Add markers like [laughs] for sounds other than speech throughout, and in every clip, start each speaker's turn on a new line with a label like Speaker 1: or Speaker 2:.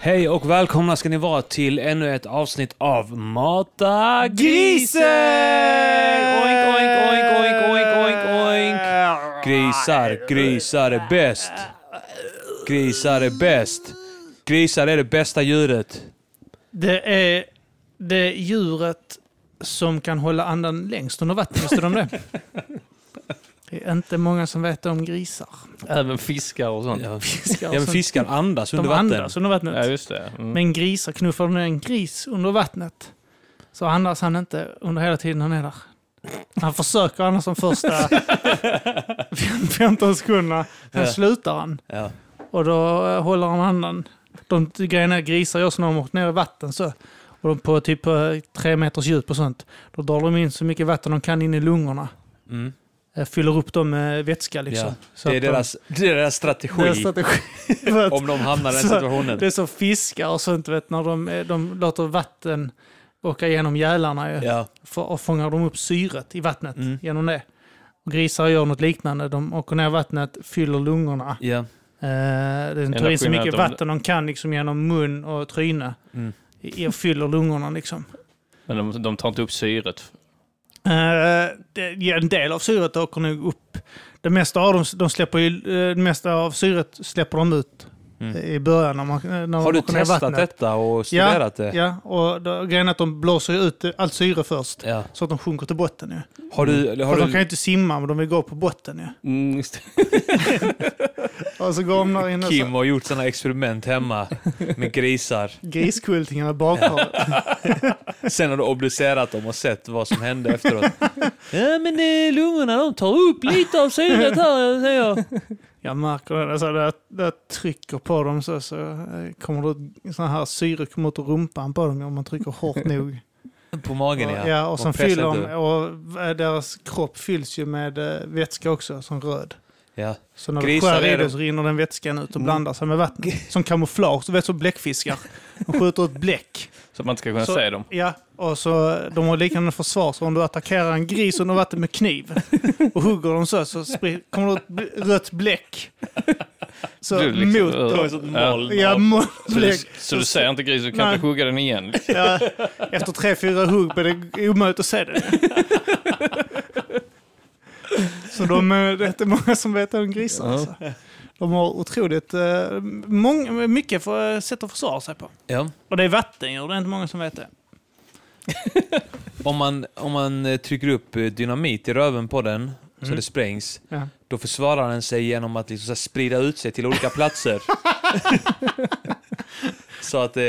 Speaker 1: Hej och välkomna ska ni vara till ännu ett avsnitt av Mata Grisen! Oink, oink, oink, oink, oink, oink, oink. Grisar, grisar är bäst. Grisar är bäst. Grisar är det bästa djuret.
Speaker 2: Det är det djuret som kan hålla andan längst under vatten, visste du om
Speaker 1: [laughs]
Speaker 2: det? Det är inte många som vet om grisar.
Speaker 3: Även fiskar och sånt.
Speaker 1: [laughs] Ja,
Speaker 2: Fiskar och
Speaker 1: men
Speaker 2: sånt.
Speaker 1: fiskar andas
Speaker 2: De
Speaker 1: under vatten.
Speaker 2: andas under vattnet.
Speaker 3: Ja, just det. Mm.
Speaker 2: Men grisar, knuffar du ner en gris under vattnet så andas han inte under hela tiden han är där. Han försöker annars
Speaker 1: [laughs]
Speaker 2: de första 15 sekunderna, sen
Speaker 1: Ja.
Speaker 2: slutar han.
Speaker 1: Ja.
Speaker 2: Och då eh, håller han andan. De grejerna är grisar gör så när de åkt ner i vatten så. Och de på typ eh, tre meters djup och sånt. Då drar de in så mycket vatten de kan in i lungorna.
Speaker 1: Mm.
Speaker 2: Eh, Fyller upp dem med vätska liksom.
Speaker 1: Ja,
Speaker 2: Så
Speaker 1: Det, är
Speaker 2: att de-
Speaker 1: deras, det är deras
Speaker 2: det är
Speaker 1: strategi
Speaker 2: strategi. [laughs] För att
Speaker 1: om de hamnar i den
Speaker 2: Så-
Speaker 1: situationen.
Speaker 2: det är så fiskar och sånt vet när de, eh, de låter vatten åka genom gälarna ju.
Speaker 1: Ja.
Speaker 2: För, och fångar de upp syret i vattnet
Speaker 1: Mm.
Speaker 2: genom det. Och grisar gör något liknande. De åker ner i vattnet, fyller lungorna.
Speaker 1: Ja.
Speaker 2: Eh, Den tar in så
Speaker 3: skillnaden är
Speaker 2: mycket
Speaker 3: att de-
Speaker 2: vatten de kan liksom genom mun och tryne.
Speaker 1: Mm.
Speaker 2: I- Och fyller lungorna liksom.
Speaker 3: Men de, de tar inte upp syret.
Speaker 2: Eh, det- ja, En del av syret åker nog upp. Det mesta av, dem, de släpper ju, eh, det mesta av syret släpper de ut
Speaker 1: Mm.
Speaker 2: eh, i början när, man, när
Speaker 1: Har
Speaker 2: de
Speaker 1: du
Speaker 2: åker ner i
Speaker 1: testat
Speaker 2: vattnet.
Speaker 1: detta och studerat det?
Speaker 2: Ja, och då, grejen är att de blåser ju ut allt syre först.
Speaker 1: Ja.
Speaker 2: Så att de sjunker till botten ju.
Speaker 1: Har du... Har
Speaker 2: För de
Speaker 1: du
Speaker 2: kan ju inte simma, men de vill gå på botten ju.
Speaker 3: Mm, just det.
Speaker 2: [laughs] Och så går de där inne och
Speaker 1: Kim
Speaker 2: så
Speaker 1: har gjort sådana experiment hemma med grisar.
Speaker 2: griskultingarna bakom.
Speaker 1: Sen har du obducerat dem och sett vad som hände efteråt. [laughs] Ja, men eh, lungorna de tar upp lite av syret här, säger jag.
Speaker 2: Jag märker det. Alltså, när jag- när jag trycker på dem så, så eh, kommer det sån här syre kommer ut ur rumpan på dem om man trycker
Speaker 1: [laughs]
Speaker 2: hårt nog.
Speaker 1: På magen, ja.
Speaker 2: och, ja, och
Speaker 1: De
Speaker 2: sen
Speaker 1: pressar
Speaker 2: fyller
Speaker 1: inte.
Speaker 2: de, och eh, deras kropp fylls ju med eh, vätska också, som röd.
Speaker 1: ja.
Speaker 2: Så när
Speaker 1: Grisar
Speaker 2: du skär i
Speaker 1: är Mm.
Speaker 2: det
Speaker 1: de-
Speaker 2: så rinner den vätskan ut och blandar sig med vattnet.
Speaker 1: [laughs]
Speaker 2: Som kamouflage, du vet som bläckfiskar. De skjuter ett bläck.
Speaker 3: Så att man inte ska kunna
Speaker 2: Så-
Speaker 3: se dem.
Speaker 2: Ja, och så eh, de har liknande försvar. Så om du attackerar en gris under vatten med kniv och hugger dem så, så spri- kommer det ett bl- rött bläck. Så
Speaker 3: Du liksom-
Speaker 2: mot
Speaker 3: Ja.
Speaker 1: Det var
Speaker 2: dem.
Speaker 1: ett sånt moln. av-
Speaker 2: Ja,
Speaker 3: Så du,
Speaker 2: målbläck.
Speaker 3: så du ser inte grisen, du kan
Speaker 2: Nej.
Speaker 3: inte hugga den igen. liksom.
Speaker 2: Ja, efter tre, fyra hugg blev det omöjligt att se den. Så de, eh, det är inte många som vet om grisar.
Speaker 3: Ja.
Speaker 2: Alltså. De har otroligt eh, många, mycket för, eh, sätt att försvara sig på.
Speaker 1: Ja.
Speaker 2: Och det är vattendjur, det är inte många som vet det.
Speaker 1: Om, man, om man eh, trycker upp eh, dynamit i röven på den så
Speaker 2: Mm.
Speaker 1: det sprängs,
Speaker 2: Ja.
Speaker 1: då försvarar den sig genom att liksom så här sprida ut sig till olika
Speaker 2: [laughs]
Speaker 1: platser. så, att, eh,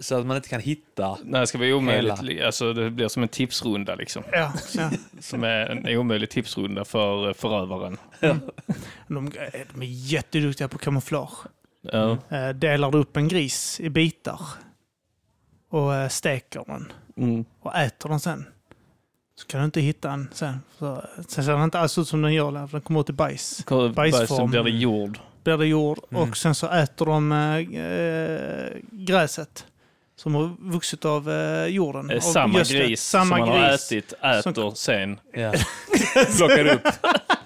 Speaker 1: så att man inte kan hitta.
Speaker 3: Nej, det ska vara omöjligt. Alltså, det blir som en tipsrunda liksom.
Speaker 2: Ja, ja.
Speaker 3: Som är en omöjlig tipsrunda för eh, förövaren.
Speaker 2: De, eh, de är jätteduktiga på kamouflage.
Speaker 3: Ja.
Speaker 2: Eh, Delar du upp en gris i bitar och eh, steker den
Speaker 3: Mm.
Speaker 2: och äter den sen. Så kan du inte hitta den sen. Så, sen ser den inte alls ut som den gör längre, för den kommer ut i bajs. Bajsform.
Speaker 3: Bajsen blir det jord.
Speaker 2: Blir det jord
Speaker 1: Mm.
Speaker 2: och sen så äter de eh, eh, gräset som har vuxit av eh, jorden.
Speaker 3: Eh,
Speaker 2: av
Speaker 3: Samma
Speaker 2: gödslet.
Speaker 3: gris
Speaker 2: Samma
Speaker 3: som man
Speaker 2: gris.
Speaker 3: har ätit äter sen.
Speaker 2: [laughs]
Speaker 1: Ja. Plockar, upp,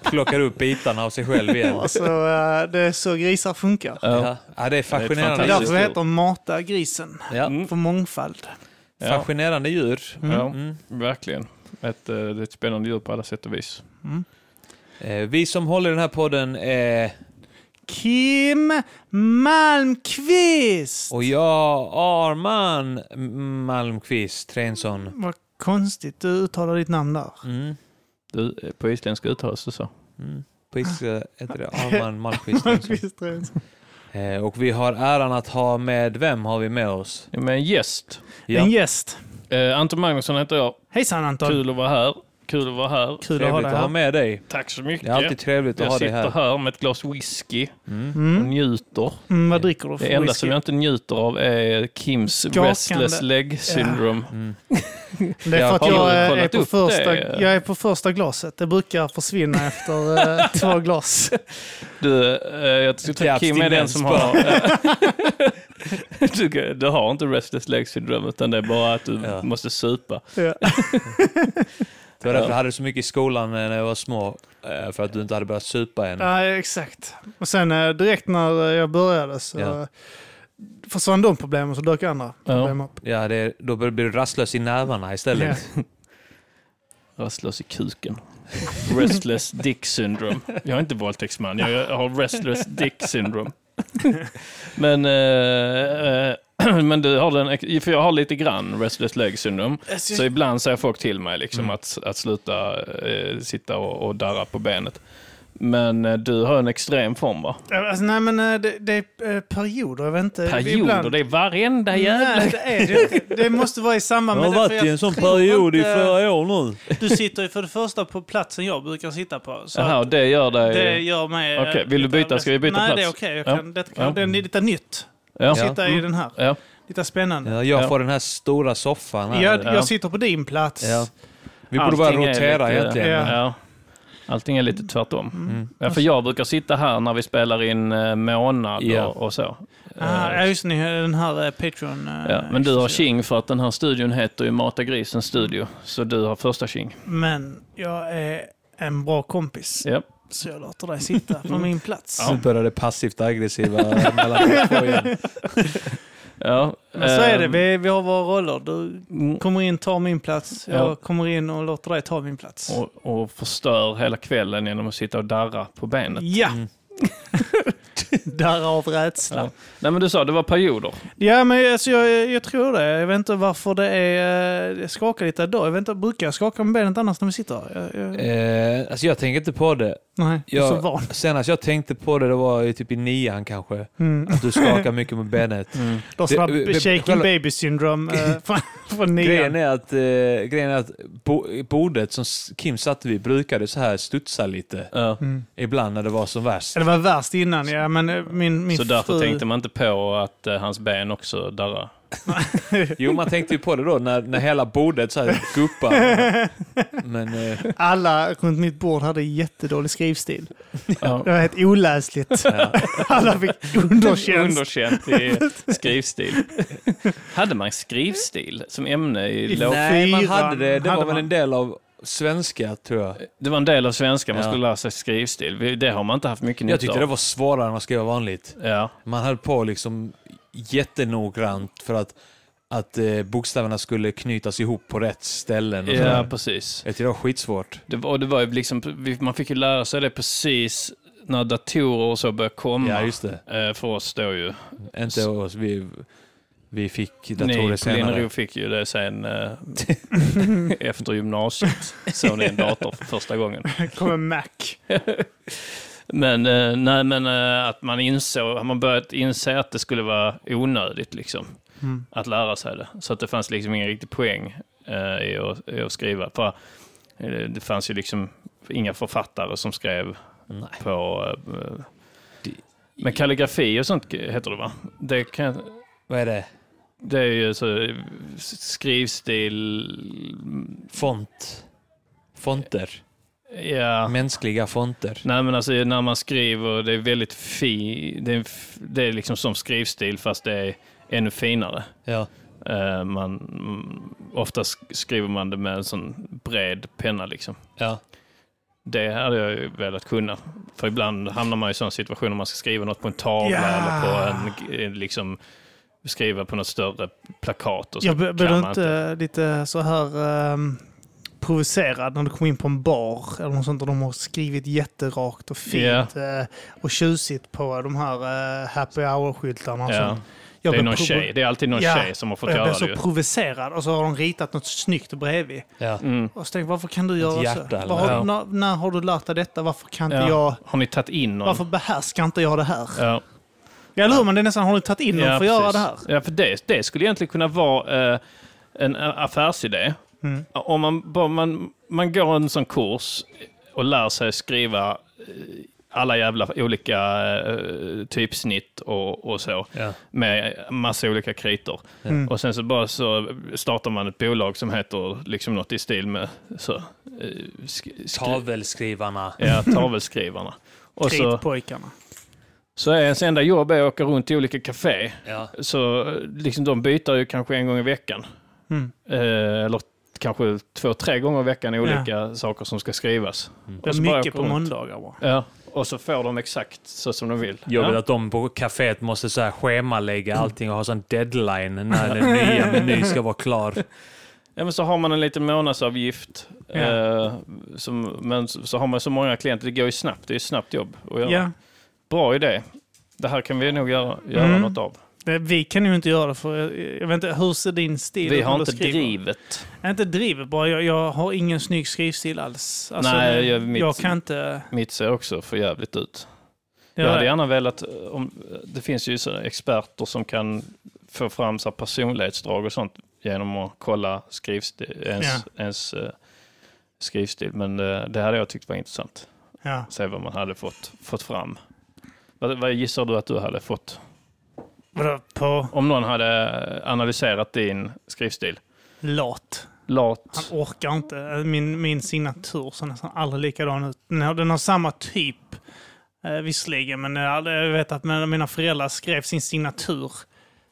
Speaker 1: plockar upp bitarna av sig själv igen.
Speaker 2: Alltså, eh, det är så grisar funkar.
Speaker 3: Ja.
Speaker 1: Ja. Ja, det är
Speaker 2: Det är
Speaker 1: fascinerande.
Speaker 3: fantastiskt.
Speaker 2: därför det heter mata grisen.
Speaker 1: ja.
Speaker 3: Mm.
Speaker 2: För mångfald.
Speaker 3: Ja.
Speaker 1: Fascinerande djur.
Speaker 2: Mm.
Speaker 3: Ja,
Speaker 1: Mm.
Speaker 3: verkligen. Ett, eh, det är ett spännande djur på alla sätt och vis.
Speaker 2: Mm.
Speaker 1: Eh, vi som håller den här podden är...
Speaker 2: Kim Malmqvist!
Speaker 1: Och jag, Arman M- Malmqvist Trensson.
Speaker 2: Vad konstigt du uttalar ditt namn där.
Speaker 1: Mm.
Speaker 3: Du, eh, på isländska uttalas det så.
Speaker 1: Mm. På isländska heter
Speaker 2: [laughs]
Speaker 1: det Arman Malmqvist Trensson.
Speaker 2: Malmqvist tror jag.
Speaker 1: Eh, och vi har äran att ha med... Vem har vi med oss?
Speaker 3: Med en gäst.
Speaker 2: En
Speaker 1: Ja.
Speaker 2: gäst.
Speaker 3: Eh, Anton Magnusson heter jag.
Speaker 2: Hejsan Anton!
Speaker 3: Kul att vara här. Kul att vara här.
Speaker 2: Kul att ha
Speaker 1: Trevligt
Speaker 2: dig
Speaker 1: att ha
Speaker 2: här.
Speaker 1: med dig.
Speaker 3: Tack så mycket.
Speaker 1: Det är alltid trevligt att
Speaker 3: jag
Speaker 1: ha dig
Speaker 3: sitter här.
Speaker 1: här.
Speaker 3: med ett glas whisky
Speaker 1: Mm.
Speaker 3: och
Speaker 2: Mm.
Speaker 3: njuter.
Speaker 2: Mm, vad dricker du för
Speaker 3: Det enda
Speaker 2: whisky?
Speaker 3: som jag inte njuter av är Kims
Speaker 2: Skakande.
Speaker 3: restless leg syndrome.
Speaker 1: Mm.
Speaker 2: Det är för
Speaker 1: Jag
Speaker 2: att
Speaker 1: har
Speaker 2: jag
Speaker 3: ju
Speaker 2: eh, är
Speaker 3: kollat
Speaker 2: på,
Speaker 3: upp
Speaker 2: första,
Speaker 3: det.
Speaker 2: jag är på första glaset. Det brukar försvinna
Speaker 3: [laughs]
Speaker 2: efter eh, två glas.
Speaker 3: Du, eh, jag
Speaker 1: Till
Speaker 3: tror att Kim är den
Speaker 1: abstinens
Speaker 3: som
Speaker 1: bara.
Speaker 3: har... [laughs] du, du har inte restless leg syndrome utan det är bara att du
Speaker 1: Ja.
Speaker 3: måste supa.
Speaker 2: [laughs] Ja.
Speaker 1: Det var därför jag hade så mycket i skolan när jag var små. eh, För att du inte hade börjat supa än.
Speaker 2: Nej, exakt. Och sen eh, direkt när jag eh, började så
Speaker 1: Ja.
Speaker 2: försvann de problemen så dök andra
Speaker 3: Ja.
Speaker 2: problem upp.
Speaker 1: Ja, det, då blir du rastlös i nävarna istället.
Speaker 3: Rastlös i kuken. Restless dick syndrome. Jag är inte våldtäktsman, jag jag har restless dick syndrome. Men, eh, eh, [clears throat] men du har den, för jag har lite grann restless leg syndrome. Så
Speaker 2: Alltså,
Speaker 3: ibland säger folk till mig liksom
Speaker 2: Mm.
Speaker 3: att, att sluta eh, sitta och, och darra på benet. Men eh, du har en extrem form va?
Speaker 2: Alltså, nej men eh, det, det är eh, perioder, jag vet inte.
Speaker 3: Perioder,
Speaker 2: Ibland-
Speaker 3: det är varenda jävla...
Speaker 2: Nej, det är det inte. Det måste vara i samband
Speaker 1: Jag
Speaker 2: med
Speaker 1: har
Speaker 2: det. för
Speaker 1: varit i
Speaker 2: jag
Speaker 1: en sån
Speaker 2: tror
Speaker 1: period i
Speaker 2: inte-
Speaker 1: flera år nu.
Speaker 2: Du sitter ju för det första på platsen jag brukar sitta på. Så
Speaker 3: Jaha,
Speaker 2: att
Speaker 3: och det gör dig...
Speaker 2: det gör mig... eh,
Speaker 3: Okej, vill du byta? Ska vi byta
Speaker 2: Nej,
Speaker 3: plats?
Speaker 2: det är okej.
Speaker 3: Ja.
Speaker 2: Okay. Ja. Kan...
Speaker 3: Ja.
Speaker 2: Det är lite nytt.
Speaker 3: ja.
Speaker 1: Ja.
Speaker 2: Sitta i den här.
Speaker 3: Ja.
Speaker 2: Lite spännande.
Speaker 1: Ja, jag
Speaker 3: Ja.
Speaker 1: får den här stora soffan här.
Speaker 2: Jag,
Speaker 3: Ja.
Speaker 2: jag sitter på din plats.
Speaker 1: Ja. Vi borde bara
Speaker 3: Allting är
Speaker 1: rotera
Speaker 3: lite-
Speaker 1: egentligen.
Speaker 2: Ja.
Speaker 1: Ja.
Speaker 3: Ja. Allting är lite tvärtom. Ja, för jag brukar sitta här när vi spelar in eh, månad
Speaker 1: Ja.
Speaker 3: och, och så.
Speaker 2: Ah,
Speaker 3: Eh,
Speaker 2: ja, just det, ni har den här eh, Patreon... eh,
Speaker 3: ja. Men du har
Speaker 2: så-
Speaker 3: tjing för att den här studion heter ju Mata Grisen Studio, så du har första tjing.
Speaker 2: Men jag är en bra kompis.
Speaker 3: Ja. Mm.
Speaker 2: Så jag låter dig sitta på min plats.
Speaker 1: Nu börjar det passivt aggressiva mellan de två igen.
Speaker 3: Ja.
Speaker 2: Men så är det.
Speaker 3: eh,
Speaker 2: Vi, vi har våra roller. Du
Speaker 3: mm,
Speaker 2: kommer in, tar min plats. Jag
Speaker 3: Ja.
Speaker 2: kommer in och låter dig ta min plats.
Speaker 3: Och, och förstör hela kvällen genom att sitta och darra på benet.
Speaker 2: Ja!
Speaker 1: Mm.
Speaker 2: Därav
Speaker 3: Ja.
Speaker 2: rädslan.
Speaker 3: Nej men du sa det var perioder.
Speaker 2: Ja, men alltså, jag, jag tror det. Jag vet inte varför det är... eh, Det skakar lite idag. Jag vet inte, brukar jag skaka med benet annars när vi sitter här? Jag, jag,
Speaker 1: Eh, alltså jag tänker inte på det.
Speaker 2: nej, jag är
Speaker 1: jag-
Speaker 2: så van.
Speaker 1: Senast jag tänkte på det, det var ju typ i nian kanske.
Speaker 2: Mm.
Speaker 1: Att du skakar mycket med benet.
Speaker 2: Du har sådana
Speaker 1: det- det-
Speaker 2: shaking
Speaker 1: själva-
Speaker 2: baby
Speaker 1: [laughs]
Speaker 2: syndrome eh, från- från
Speaker 1: Grejen
Speaker 2: nian.
Speaker 1: är att, eh, grejen är att bo, bordet som s- Kim satte vid brukade så här studsa lite.
Speaker 3: Ja.
Speaker 2: Mm.
Speaker 1: Ibland när det var som värst.
Speaker 2: Ja, Det var värst innan, ja. Men eh, min, min
Speaker 3: Så därför
Speaker 2: fru...
Speaker 3: tänkte man inte på att eh, hans ben också darrar.
Speaker 1: Jo, man tänkte ju på det då när, när hela bordet så här guppar. Men eh,
Speaker 2: [laughs] Alla runt mitt bord hade jättedålig skrivstil.
Speaker 3: Ja.
Speaker 2: Det var helt oläsligt. [laughs]
Speaker 1: ja.
Speaker 2: Alla
Speaker 1: [laughs]
Speaker 2: fick underkänt.
Speaker 3: Underkänt i skrivstil. Hade man skrivstil som ämne i låg...
Speaker 1: Nej, man hade det. Det
Speaker 2: Hade
Speaker 1: var väl
Speaker 2: man.
Speaker 1: en del av svenska, tror jag.
Speaker 3: Det var en del av svenska man
Speaker 1: Ja.
Speaker 3: skulle lära sig skrivstil. Vi- Det har man inte haft mycket nytta
Speaker 1: Jag tyckte det var svårare än att skriva vanligt.
Speaker 3: av. Ja.
Speaker 1: Man höll på liksom jättenoggrant för att, att eh, bokstäverna skulle knytas ihop på rätt ställen. Och
Speaker 3: ja,
Speaker 1: sådär.
Speaker 3: precis.
Speaker 1: Jag tyckte det var skitsvårt.
Speaker 3: Det var, och det var ju liksom, vi- man fick ju lära sig det precis när datorer och så började komma.
Speaker 1: Ja, just det.
Speaker 3: Eh, För oss då ju.
Speaker 1: Inte oss. Vi, vi fick datorer
Speaker 3: Ni på
Speaker 1: senare.
Speaker 3: Linnero fick ju det sen eh, [laughs] efter gymnasiet. Såg ni en dator för första gången.
Speaker 2: Kommer Mac.
Speaker 3: [laughs] Men, eh, nej, men eh, att man insåg, man börjat inse att det skulle vara onödigt liksom,
Speaker 2: Mm.
Speaker 3: att lära sig det. Så att det fanns liksom ingen riktig poäng eh, i, att, i att skriva. För, eh, det fanns ju liksom inga författare som skrev
Speaker 1: Nej.
Speaker 3: på... Eh,
Speaker 1: Det-
Speaker 3: men kalligrafi och sånt heter det va? Det, kan,
Speaker 1: Vad är det?
Speaker 3: det är ju så, skrivstil,
Speaker 1: Font. Fonter.
Speaker 3: ja.
Speaker 1: Mänskliga fonter.
Speaker 3: Nej men alltså när man skriver, det är väldigt fi, det är, f- det är liksom som skrivstil fast det är ännu finare.
Speaker 1: Ja.
Speaker 3: Eh, man, mm, ofta sk- skriver man det med en sån bred penna liksom.
Speaker 1: ja.
Speaker 3: Det hade jag ju velat kunna. För ibland hamnar man i sån situation om man ska skriva något på en tavla
Speaker 2: Ja.
Speaker 3: eller på en, eh, liksom, skriva på något större plakat och så.
Speaker 2: Jag be- blev
Speaker 3: man
Speaker 2: inte, eh, lite så här ehm, provocerad när du kom in på en bar eller något sånt och de har skrivit jätterakt och fint eh, och tjusigt på de här eh, happy hour-skyltarna. och
Speaker 3: ja.
Speaker 2: sånt.
Speaker 3: Det
Speaker 2: Jag
Speaker 3: är
Speaker 2: blev
Speaker 3: någon
Speaker 2: provo-
Speaker 3: tjej, det är alltid någon
Speaker 2: Ja.
Speaker 3: tjej som har fått
Speaker 2: och Jag
Speaker 3: göra
Speaker 2: blev
Speaker 3: det
Speaker 2: så
Speaker 3: ju.
Speaker 2: provocerad och så har de ritat något snyggt bredvid.
Speaker 1: ja.
Speaker 3: Mm.
Speaker 2: Och så tänkte jag, varför kan du göra
Speaker 1: hjärta
Speaker 2: så?
Speaker 1: eller
Speaker 2: Var har,
Speaker 3: något.
Speaker 2: när, när har du lärt dig detta? Varför kan inte
Speaker 3: Ja.
Speaker 2: jag...
Speaker 3: Har ni tagit in någon?
Speaker 2: Varför behärskar inte jag det här?
Speaker 3: Ja.
Speaker 2: Ja, eller hur? Men det är nästan, har ni tagit in någon för att göra det
Speaker 3: precis.
Speaker 2: här?
Speaker 3: Ja, för det, det skulle egentligen kunna vara eh, en a- affärsidé.
Speaker 2: Mm.
Speaker 3: Om man, bara, man, man går en sån kurs och lär sig skriva eh, alla jävla olika eh, typsnitt och, och så
Speaker 1: Ja.
Speaker 3: med massa olika kritor.
Speaker 2: Mm.
Speaker 3: Och sen så bara så startar man ett bolag som heter liksom något i stil med så, eh, sk- skri-
Speaker 1: Tavelskrivarna.
Speaker 3: ja, tavelskrivarna. Och så,
Speaker 2: Kritpojkarna.
Speaker 3: så är ens enda jobb är att åka runt till olika café
Speaker 1: Ja.
Speaker 3: så eh, liksom de byter ju kanske en gång i veckan.
Speaker 2: Mm.
Speaker 3: Eh, eller kanske två, tre gånger i veckan i olika saker som ska skrivas.
Speaker 2: Det
Speaker 3: Och så
Speaker 2: är
Speaker 3: bara
Speaker 2: mycket
Speaker 3: åker
Speaker 2: på
Speaker 3: runt.
Speaker 2: måndagar bara.
Speaker 3: Ja, Och så får de exakt så som de vill.
Speaker 1: Jag vill
Speaker 3: ja.
Speaker 1: att de på kaféet måste så här schemalägga allting och ha sån deadline när den nya menyn ska vara klar.
Speaker 3: ja, men så har man en liten månadsavgift.
Speaker 2: Ja.
Speaker 3: Eh, som, men så, så har man så många klienter, det går ju snabbt. Det är ett snabbt jobb att göra.
Speaker 2: Ja.
Speaker 3: Bra idé. Det här kan vi nog göra, göra
Speaker 2: Mm.
Speaker 3: något av.
Speaker 2: Det- Vi kan ju inte göra det för jag- jag vet inte, hur ser din stil
Speaker 3: Vi
Speaker 2: ut när
Speaker 3: har
Speaker 2: du
Speaker 3: inte
Speaker 2: skriver?
Speaker 3: drivet.
Speaker 2: Jag inte drivet bara, jag, jag har ingen snygg skrivstil alls. Alltså,
Speaker 3: Nej, jag-
Speaker 2: jag,
Speaker 3: mitt-
Speaker 2: kan inte...
Speaker 3: Mitt ser också för jävligt ut. Jag
Speaker 2: Ja,
Speaker 3: hade gärna velat, eh, om, det finns ju sådana experter som kan få fram så här personlighetsdrag och sånt genom att kolla skrivstil, ens, ens eh, skrivstil. Men eh, det hade jag tyckt var intressant.
Speaker 2: ja.
Speaker 3: Se vad man hade fått, fått fram. Vad, vad gissar du att du hade fått?
Speaker 2: Vadå, på
Speaker 3: Om någon hade eh, analyserat din skrivstil?
Speaker 2: lat? Han
Speaker 3: Lat?
Speaker 2: orkar inte. Äh, Min, min signatur ser nästan aldrig likadan ut. Den har, den har samma typ eh, visserligen, men jag hade- jag vet att när mina föräldrar skrev sin signatur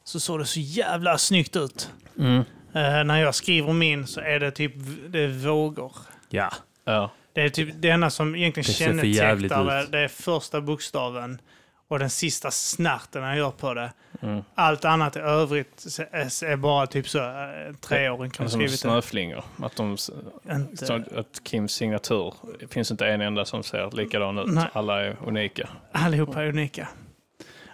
Speaker 2: så såg det så jävla snyggt ut.
Speaker 3: Mm.
Speaker 2: Eh, när jag skriver min så är det typ v- det är vågor.
Speaker 1: Ja.
Speaker 3: Ja.
Speaker 2: Det är typ det enda som egentligen
Speaker 1: Det ser för jävligt
Speaker 2: kännetecknar det.
Speaker 1: ut.
Speaker 2: Det är första bokstaven och den sista snärten han gör på det.
Speaker 3: Mm.
Speaker 2: Allt annat i övrigt s- s- är bara typ så eh, treåring kan ha
Speaker 3: Som
Speaker 2: skrivit det.
Speaker 3: snöflingor. Att, de, s-
Speaker 2: Inte.
Speaker 3: så att Kims signatur, det finns inte en enda som ser likadan ut.
Speaker 2: Nej.
Speaker 3: Alla är unika.
Speaker 2: Allihopa är unika.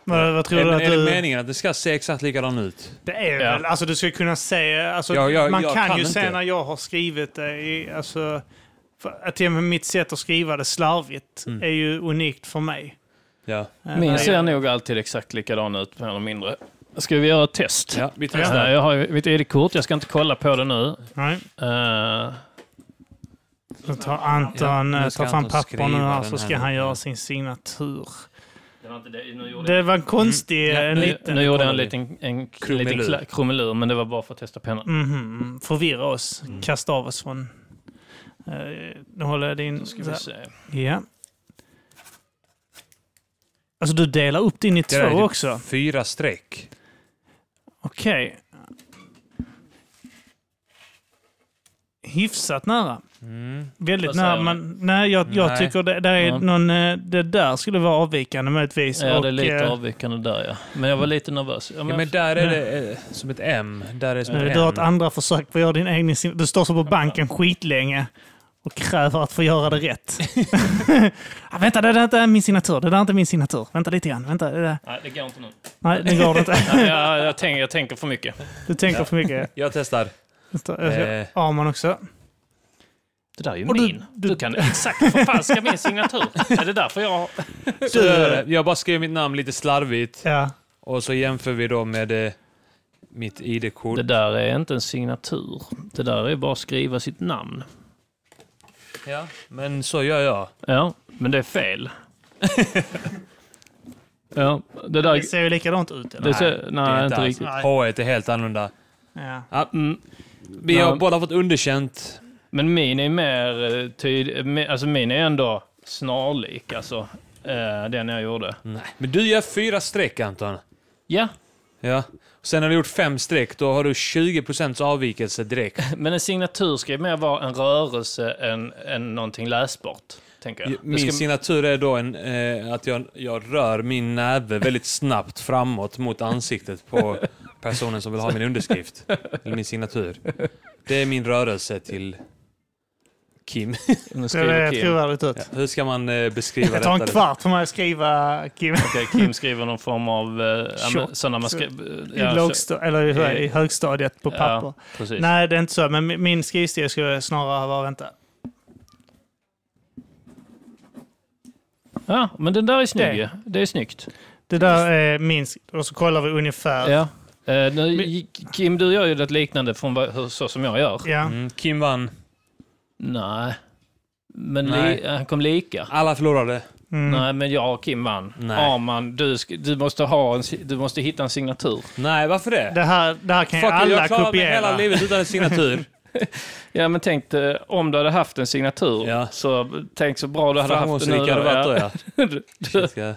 Speaker 2: Men vad tror
Speaker 1: Är,
Speaker 2: du
Speaker 1: men
Speaker 2: att
Speaker 1: är det
Speaker 2: du...
Speaker 1: meningen att det ska se exakt likadan ut?
Speaker 2: Det är
Speaker 3: Ja.
Speaker 2: väl, alltså du ska kunna se, alltså,
Speaker 1: Ja, ja,
Speaker 2: man
Speaker 1: jag
Speaker 2: kan,
Speaker 1: kan
Speaker 2: ju
Speaker 1: inte.
Speaker 2: se när jag har skrivit det, i, alltså, för, att till och med mitt sätt att skriva det slarvigt
Speaker 1: Mm.
Speaker 2: är ju unikt för mig.
Speaker 1: Ja.
Speaker 2: Eh,
Speaker 3: Min
Speaker 2: när
Speaker 3: ser
Speaker 2: jag-
Speaker 3: nog alltid exakt likadan ut, mer eller mindre. Ska vi göra ett test?
Speaker 1: ja vi
Speaker 3: Så
Speaker 1: testar.
Speaker 3: här, Jag har ju mitt ID-kort, jag ska inte kolla på det nu.
Speaker 2: Nej,
Speaker 3: Eh,
Speaker 2: då tar Anton,
Speaker 1: Ja, nu
Speaker 2: eh,
Speaker 1: ska
Speaker 2: tar fram
Speaker 1: Anton
Speaker 2: papper nu
Speaker 1: skriva
Speaker 2: här
Speaker 1: den
Speaker 2: så ska
Speaker 1: här.
Speaker 2: han göra sin signatur.
Speaker 3: det var inte det, nu gjorde jag-
Speaker 2: Det var en konstig,
Speaker 1: Ja,
Speaker 2: en
Speaker 3: nu-
Speaker 2: liten...
Speaker 3: nu gjorde jag en
Speaker 1: kollar vi.
Speaker 3: liten, en krumelur. Mm.
Speaker 1: Krumelur.
Speaker 3: liten kla- krumelur, men det var bara för att testa pennan.
Speaker 2: Mhm, förvirra oss,
Speaker 3: Mm.
Speaker 2: kasta av oss från... eh, Nu håller jag din...
Speaker 3: Då ska vi se.
Speaker 2: Ja. Alltså du delar upp din i
Speaker 1: Det där är
Speaker 2: två
Speaker 1: typ
Speaker 2: också?
Speaker 1: Fyra streck.
Speaker 2: Okej. Hyfsat nära.
Speaker 1: Mm.
Speaker 2: Väldigt
Speaker 3: Vad säger
Speaker 2: nära.
Speaker 3: ni?
Speaker 2: Men, nej, jag, jag
Speaker 1: Nej.
Speaker 2: tycker det, där är
Speaker 3: Ja.
Speaker 2: någon, eh, det där skulle vara avvikande möjligtvis.
Speaker 3: Ja,
Speaker 2: Och,
Speaker 3: det är lite
Speaker 2: eh,
Speaker 3: avvikande där ja. Men jag var lite nervös. Ja,
Speaker 1: Ja,
Speaker 3: men,
Speaker 1: men där är det eh, som ett M. Där är
Speaker 3: Eh,
Speaker 1: det som ett
Speaker 2: Du har ett
Speaker 1: M.
Speaker 2: andra försök på att göra din egen... sin- Du står så på banken skitlänge och kräver att få göra det
Speaker 3: [laughs]
Speaker 2: rätt. ah, vänta, det där är inte min signatur. Det där är inte min signatur. Vänta lite grann. Vänta, det där.
Speaker 3: Nej, det går inte nu.
Speaker 2: Nej, det går
Speaker 3: [laughs]
Speaker 2: inte.
Speaker 3: Nej, jag, jag, tänker, jag tänker för mycket.
Speaker 2: Du tänker för mycket.
Speaker 1: Jag testar.
Speaker 2: Det står- jag ska-
Speaker 1: Eh.
Speaker 2: Arman också.
Speaker 3: Det där är ju
Speaker 2: Och du-
Speaker 3: min. Du, kan exakt förfalska min signatur. Är det därför [laughs] jag...
Speaker 1: Så gör jag det. Jag bara skriver mitt namn lite slarvigt
Speaker 2: Ja.
Speaker 1: och så jämför vi då med eh, mitt ID-kort.
Speaker 3: Det där är inte en signatur. Det där är bara att skriva sitt namn.
Speaker 1: Ja, men så gör jag.
Speaker 3: Ja, men det är fel. ja, det där...
Speaker 2: Det ser ju likadant ut. Eller?
Speaker 3: Det ser, nej,
Speaker 1: det är
Speaker 3: inte
Speaker 1: alls-
Speaker 3: riktigt.
Speaker 2: Nej.
Speaker 1: H1 är helt annorlunda.
Speaker 2: Ja.
Speaker 3: Mm,
Speaker 1: Vi har
Speaker 3: Ja.
Speaker 1: båda fått underkänt.
Speaker 3: men min är mer eh, tyd... mi- Alltså min är ändå snarlik, alltså. eh, den jag gjorde.
Speaker 1: Men du gör fyra streck, Anton.
Speaker 3: Ja,
Speaker 1: Ja. Sen har du gjort fem streck, då har du 20 avvikelse direkt.
Speaker 3: men en signatur ska ju mer vara en rörelse än, än någonting läsbart, tänker jag. Det
Speaker 1: Min
Speaker 3: ska-
Speaker 1: signatur är då en, eh, att jag, jag rör min näve väldigt snabbt framåt mot ansiktet på personen som vill ha min underskrift. Eller min signatur. Det är min rörelse till Kim.
Speaker 3: Nu
Speaker 2: Ser det
Speaker 3: skriver Kim.
Speaker 2: trovärdigt ut?
Speaker 1: Hur ska man eh, beskriva
Speaker 2: Det tar en
Speaker 1: detta?
Speaker 2: kvart för mig att skriva Kim
Speaker 3: Okej, Kim skriver någon form av... Eh, ja, men
Speaker 2: Tjock.
Speaker 3: sådana man ska...
Speaker 2: i,
Speaker 3: ja, så-
Speaker 2: lågsta- eller i, hö- i
Speaker 3: Eh,
Speaker 2: högstadiet på
Speaker 3: ja.
Speaker 2: papper.
Speaker 3: precis.
Speaker 2: Nej, det är inte så. Men mi- min skrivstil skulle snarare vara, vänta.
Speaker 3: Ja, men den där är snygg
Speaker 2: Det-
Speaker 3: ju. Det är snyggt.
Speaker 2: Det där är min, sk- och så kollar vi ungefär.
Speaker 3: Ja. Eh, nu, Kim, du gör ju något liknande från vad, hur, så som jag gör.
Speaker 2: Ja.
Speaker 1: Mm, Kim vann.
Speaker 3: Nej. Men Li,
Speaker 1: Nej.
Speaker 3: han kom lika.
Speaker 1: Alla förlorade.
Speaker 2: Mm.
Speaker 3: Nej, men jag och Kim vann.
Speaker 1: Nej.
Speaker 3: Arman, du, sk- du, måste ha en, si- du måste hitta en signatur.
Speaker 1: Nej, varför det?
Speaker 2: Det, här, det här kan ju
Speaker 1: Fuck,
Speaker 2: alla
Speaker 1: jag klarar mig hela
Speaker 2: kopiera.
Speaker 1: livet utan en signatur.
Speaker 3: Ja, men tänk dig, om du hade haft en signatur,
Speaker 1: Ja.
Speaker 3: så tänk så bra du hade haft den [laughs]
Speaker 1: Framgångsrik hade varit då, ja.
Speaker 3: du, du,
Speaker 1: Shit, ska-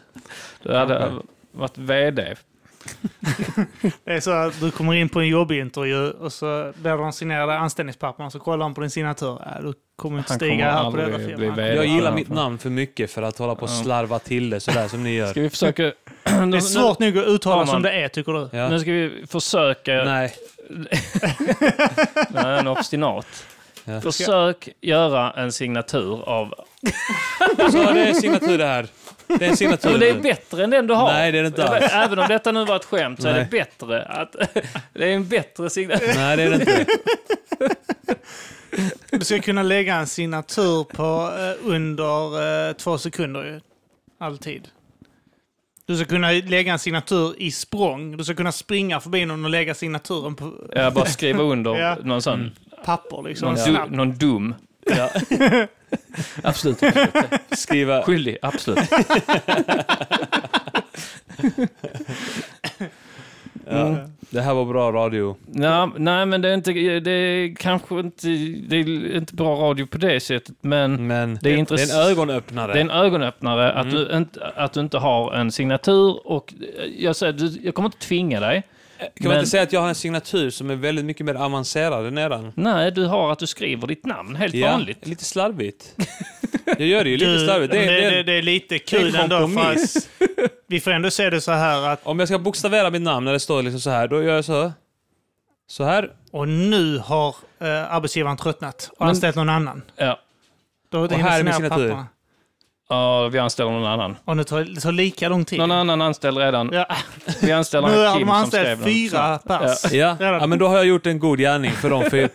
Speaker 3: du hade varit VD.
Speaker 2: Det är så att du kommer in på en jobbintervju och så ber du om signerade anställningspapper och så kollar han på din signatur. Äh, du kommer inte
Speaker 3: Han
Speaker 2: stiga
Speaker 3: kommer
Speaker 2: här på denna
Speaker 3: aldrig bli
Speaker 2: firman.
Speaker 3: vd.
Speaker 1: Jag gillar
Speaker 3: Ja,
Speaker 1: mitt
Speaker 3: fan.
Speaker 1: namn för mycket för att hålla på och
Speaker 3: Ja.
Speaker 1: slarva till det sådär som ni gör.
Speaker 3: Ska vi försöka... [clears throat]
Speaker 2: Det är svårt nog att uttala
Speaker 3: Fan,
Speaker 2: som
Speaker 3: man.
Speaker 2: det är, tycker du?
Speaker 1: Ja.
Speaker 3: Nu ska vi försöka...
Speaker 1: Nej.
Speaker 3: Nej, en obstinat.
Speaker 1: Ja.
Speaker 3: Försök göra en signatur av...
Speaker 1: Så det är en signatur det här. Det är en signatur.
Speaker 3: Ja, men det är bättre än den du har.
Speaker 1: Nej, det är det inte alls.
Speaker 3: [laughs] Även om detta nu var ett skämt så är
Speaker 1: Nej.
Speaker 3: det bättre att... [laughs] Det är en bättre signatur.
Speaker 1: Nej, det är det inte.
Speaker 2: Du ska kunna lägga en signatur på eh, under eh, två sekunder ju. Alltid. Du ska kunna lägga en signatur i språng. Du ska kunna springa förbi någon och lägga signaturen på
Speaker 3: Ja, bara skriva under
Speaker 2: Ja.
Speaker 3: någon sån...
Speaker 2: papper liksom.
Speaker 3: Någon,
Speaker 2: Snabbt.
Speaker 3: du, någon dum.
Speaker 1: Ja.
Speaker 3: [laughs] Absolut.
Speaker 1: Skriva...
Speaker 3: Skyldig, absolut.
Speaker 1: Ja. Det här var bra radio.
Speaker 3: Nej, nej, men det är, inte, det är kanske inte, det är inte bra radio på det sättet, men
Speaker 1: Men
Speaker 3: Mm. det är
Speaker 1: det är
Speaker 3: intressant.
Speaker 1: en ögonöppnare.
Speaker 3: Det är en ögonöppnare att,
Speaker 1: Mm.
Speaker 3: du inte, att du inte har en signatur. Och eh, jag, säger, du- jag kommer inte tvinga dig.
Speaker 1: Kan man
Speaker 3: men-
Speaker 1: inte säga att jag har en signatur som är väldigt mycket mer avancerad än eran?
Speaker 3: Nej, du har att du skriver ditt namn helt vanligt.
Speaker 1: lite slarvigt. Jag gör det ju lite
Speaker 2: Du,
Speaker 1: slarvigt. Det,
Speaker 2: men
Speaker 1: är- det,
Speaker 2: det,
Speaker 1: är-
Speaker 2: det, det är lite
Speaker 1: är en
Speaker 2: kul ändå för
Speaker 1: kompromiss.
Speaker 2: att [laughs] vi får ändå se det så här att
Speaker 1: Om jag ska bokstavera mitt namn när det står liksom så här, då gör jag så. Så här.
Speaker 2: och nu har eh, arbetsgivaren tröttnat och
Speaker 3: Men-
Speaker 2: anställt någon annan.
Speaker 3: Ja.
Speaker 2: Då och
Speaker 1: här är min signatur.
Speaker 2: papperna.
Speaker 3: Ja, vi anställer någon annan.
Speaker 2: Och nu tar, det tar lika lång tid.
Speaker 3: Någon annan anställd redan.
Speaker 2: Ja,
Speaker 3: Vi anställer
Speaker 2: nu
Speaker 3: en
Speaker 2: har de
Speaker 3: Kim som skrev
Speaker 2: anställt
Speaker 3: den.
Speaker 2: fyra pers.
Speaker 3: [laughs]
Speaker 1: Ja.
Speaker 2: Redan.
Speaker 1: ja, men då har jag gjort en god gärning för dem. För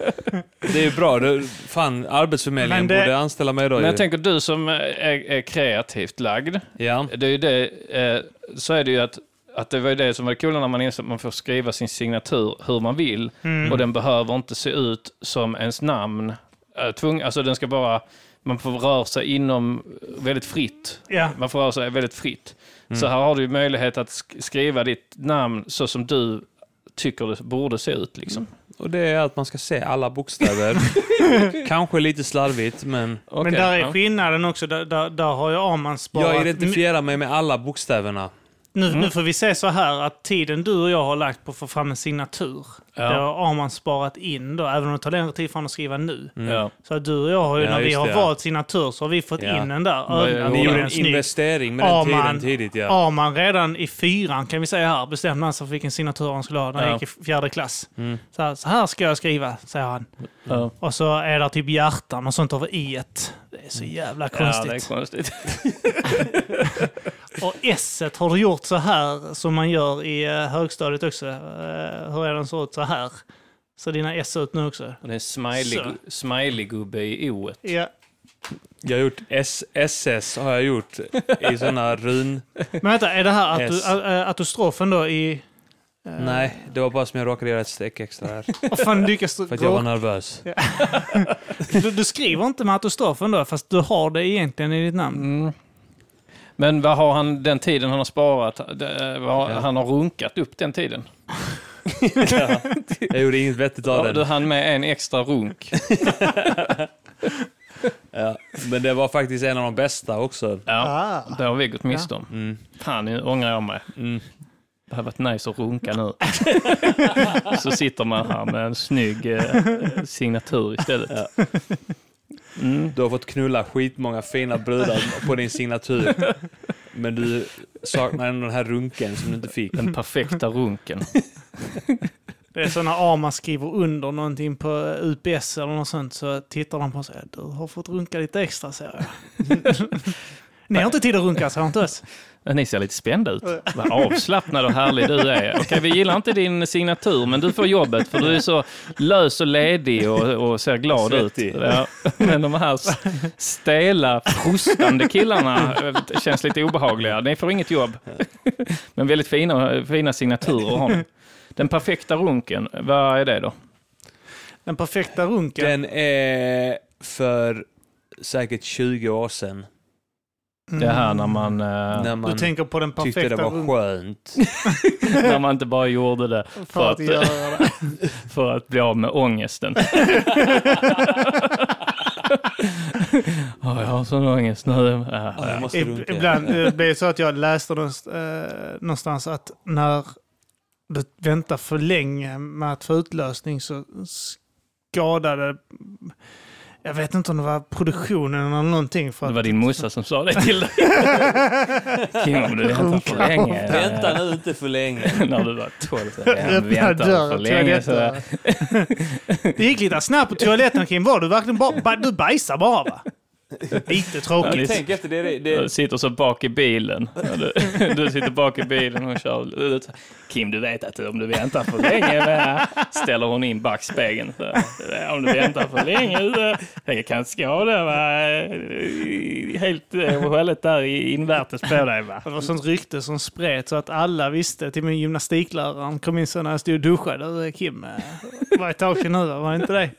Speaker 1: det är bra. Det, fan, Arbetsförmedlingen
Speaker 2: Men det-
Speaker 1: borde anställa mig då.
Speaker 3: Men
Speaker 1: ju.
Speaker 3: jag tänker du som eh, är, är kreativt lagd.
Speaker 1: Ja.
Speaker 3: Det är ju det, eh, så är det ju att, att det var ju det som var kul när man insåg att man får skriva sin signatur hur man vill
Speaker 2: Mm.
Speaker 3: och den behöver inte se ut som ens namn. Eh, Tvung, alltså den ska bara, man får röra sig inom väldigt fritt.
Speaker 2: Ja.
Speaker 3: Man får röra sig väldigt fritt. Så här har du ju möjlighet att sk- skriva ditt namn så som du tycker det borde se ut. Liksom.
Speaker 1: Och det är att man ska se alla
Speaker 3: [laughs]
Speaker 1: bokstäver. Kanske lite slarvigt, men
Speaker 3: Okej,
Speaker 2: Men där
Speaker 3: ja.
Speaker 2: är skillnaden också. Där, där, där har ju Arman sparat...
Speaker 1: jag identifierar mig med alla bokstäverna.
Speaker 2: nu,
Speaker 3: Mm.
Speaker 2: nu får vi se så här att tiden du och jag har lagt på att få fram en signatur,
Speaker 3: Ja.
Speaker 2: det har Arman sparat in då, även om det tar längre tid för honom att skriva nu.
Speaker 1: Mm.
Speaker 3: Ja.
Speaker 2: Så att du och jag har ju,
Speaker 1: Ja,
Speaker 2: när vi
Speaker 1: just
Speaker 2: har
Speaker 1: det, ja.
Speaker 2: valt signatur så har vi fått
Speaker 1: Ja.
Speaker 2: in den där.
Speaker 3: Vad
Speaker 2: Ö,
Speaker 3: är-
Speaker 1: Ni
Speaker 2: det är
Speaker 1: gjorde
Speaker 2: ju
Speaker 1: en
Speaker 2: snygg.
Speaker 1: investering med den tiden
Speaker 2: Arman.
Speaker 1: tidigt, ja.
Speaker 2: Arman redan i fyran kan vi säga här bestämde han sig för vilken signatur han skulle ha när han
Speaker 3: Ja.
Speaker 2: gick i fjärde klass.
Speaker 1: Mm.
Speaker 2: Så här, så här ska jag skriva, säger han.
Speaker 3: Ja.
Speaker 2: Och så är det typ hjärtan och sånt över i et. Det är
Speaker 1: Mm.
Speaker 2: så jävla
Speaker 3: Ja,
Speaker 2: konstigt.
Speaker 3: det är konstigt.
Speaker 2: Och S har du gjort så här som man gör i eh, högstadiet också. Eh, Hur är den så ut så här? Så dina S ut nu också?
Speaker 3: Och det är en smiley- smiley-gubbe i o
Speaker 2: Ja.
Speaker 1: Jag har gjort SSS har jag gjort i sådana run...
Speaker 2: Men vänta, är det här att,
Speaker 1: [laughs] S.
Speaker 2: du, a- eh, att du strofen då i... eh,
Speaker 1: Nej, det var bara som jag råkade göra ett streck extra här.
Speaker 2: Vad fan lyckas du,
Speaker 1: För att jag var nervös.
Speaker 2: du? Du skriver inte med att du strofen då, fast du har det egentligen i ditt namn.
Speaker 3: Mm. Men vad har han den tiden han har sparat? det- eh, Vad har,
Speaker 1: Ja.
Speaker 3: Han har runkat upp den tiden.
Speaker 1: Ja. Jag gjorde inget vettigt av
Speaker 3: Har du
Speaker 1: den.
Speaker 3: han med en
Speaker 1: [laughs]
Speaker 3: extra runk?
Speaker 1: Ja. Men det var faktiskt en av de bästa också.
Speaker 3: Ja,
Speaker 2: Ah.
Speaker 3: det har vi gått miste om.
Speaker 1: Mm.
Speaker 3: Fan, nu ångrar jag mig.
Speaker 1: Mm.
Speaker 3: Det hade varit nice att
Speaker 1: [laughs]
Speaker 3: runka nu. Så sitter man här med en snygg eh, signatur istället. Mm.
Speaker 1: Du har fått knulla skitmånga fina brudar på din signatur. Men du saknar ändå den här runken som du inte fick.
Speaker 3: Den perfekta runken.
Speaker 2: Det är så när Arman skriver under någonting på eh, UPS eller något sånt så tittar de på och säger du har fått runka lite extra, säger jag.
Speaker 1: [laughs]
Speaker 2: Ni har inte tid att runka, säger han till oss.
Speaker 3: Ja, Äh, Ni ser lite spända ut. Vad avslappnad och härlig du är. Okej, vi gillar inte din signatur, men du får jobbet för du är så lös och ledig och, och ser glad ut.
Speaker 1: Svettig.
Speaker 3: Ja, men de här s- stela, frustande killarna eh, känns lite obehagliga. Ni får inget jobb. Men väldigt fina, fina signaturer har ni. Den perfekta runken, vad är det då?
Speaker 2: Den perfekta runken.
Speaker 1: Den är för säkert 20 år sedan.
Speaker 2: Mm.
Speaker 3: Det här när man, eh,
Speaker 1: När
Speaker 2: Du
Speaker 1: man
Speaker 2: tänker på den
Speaker 1: tyckte det
Speaker 2: perfekta
Speaker 1: var
Speaker 2: runken
Speaker 1: skönt.
Speaker 3: när man inte bara gjorde det
Speaker 2: för att
Speaker 3: för
Speaker 2: göra det.
Speaker 3: för att bli av med ångesten.
Speaker 1: [laughs]
Speaker 3: Ja, jag har sån ångest nu. Ja.
Speaker 1: Ja, jag måste
Speaker 2: Ib-
Speaker 1: runka.
Speaker 2: Ibland eh, blir det så att jag läste någonst- eh, någonstans att när du väntar för länge med att få utlösning så skadade... Jag vet inte om det var produktionen eller någonting. För
Speaker 3: Det
Speaker 2: att, [laughs]
Speaker 3: var din morsa som sa det till dig. Kim, om du väntar för länge.
Speaker 1: Vänta nu inte för länge.
Speaker 3: När du var 12. så
Speaker 2: [laughs]
Speaker 3: här,
Speaker 2: Öppna
Speaker 3: Väntar
Speaker 2: dörren,
Speaker 3: för länge. Så
Speaker 2: toaletten. det gick lite snabbt på toaletten Kim. Var du verkligen bara... ba- Du bajsade bara va? Lite
Speaker 3: Ja,
Speaker 2: tråkigt.
Speaker 3: det-
Speaker 1: Tänk efter, det, är- det,
Speaker 3: Du
Speaker 1: är-
Speaker 3: sitter så bak i bilen. Ja, Du, du [laughs] sitter bak i bilen och kör. ut. Kim, du vet att om du väntar för länge va, ställer hon in backspegeln. Så, eh, om du väntar för länge så, jag kan skada va, helt eh, och hållet där i- invärtes på dig. Va?
Speaker 2: Det var sånt rykte som spred så att alla visste. Till min gymnastiklärare han kom in så när jag stod och duschade. Du Kim, eh, var ett tag sedan nu va? var det inte det?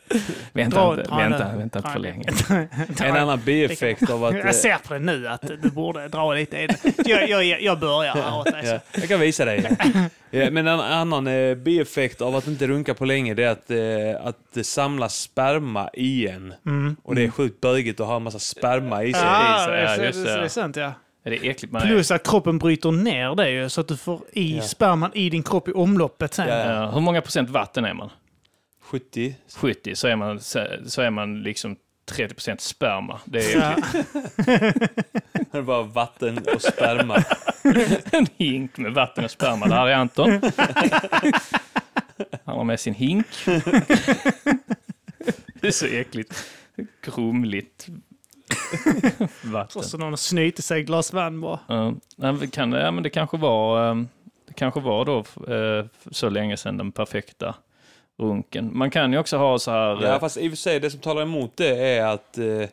Speaker 3: Vänta,
Speaker 2: Dra-
Speaker 3: inte,
Speaker 2: dra
Speaker 3: vänta,
Speaker 2: den.
Speaker 3: vänta inte
Speaker 2: Dra
Speaker 3: för
Speaker 2: den.
Speaker 3: länge. [laughs]
Speaker 1: en annan bieffekt av att... eh,
Speaker 2: Jag ser på det nu att du borde dra lite i det. Jag, jag, jag börjar här åt dig.
Speaker 3: Alltså.
Speaker 1: Ja, jag kan visa
Speaker 3: [laughs]
Speaker 1: dig. Ja, men en annan eh, bieffekt av att inte runka på länge det är att, eh, att det samlas sperma i en.
Speaker 3: Mm.
Speaker 1: Och det är sjukt bögigt att ha en massa sperma i sig.
Speaker 2: Ja,
Speaker 3: så-
Speaker 2: det
Speaker 3: ja,
Speaker 2: är,
Speaker 3: just
Speaker 2: det,
Speaker 3: det.
Speaker 2: det är sant ja.
Speaker 3: Är det äckligt man är?
Speaker 2: Plus att kroppen bryter ner det ju så att du får i sperman i din kropp i omloppet sen.
Speaker 1: Ja.
Speaker 3: Ja, hur många procent vatten är man?
Speaker 1: 70.
Speaker 3: 70, så är man, så, så är man liksom 30 procent sperma. Det är
Speaker 2: Ja.
Speaker 1: [laughs] Det är bara vatten och
Speaker 3: [laughs]
Speaker 1: sperma.
Speaker 3: [laughs] en hink med vatten och sperma. Där är Anton. Han har med sin hink. [laughs] Det är så äckligt. Grumligt vatten.
Speaker 2: Och så någon snyter sig ett glas vatten bara.
Speaker 3: Ja, nej, men kan, ja, men det kanske var, eh, det kanske var då eh, så länge sedan den perfekta runken. Man kan ju också ha så här...
Speaker 1: Ja,
Speaker 3: eh,
Speaker 1: fast i och för sig, det som talar emot det är att eh,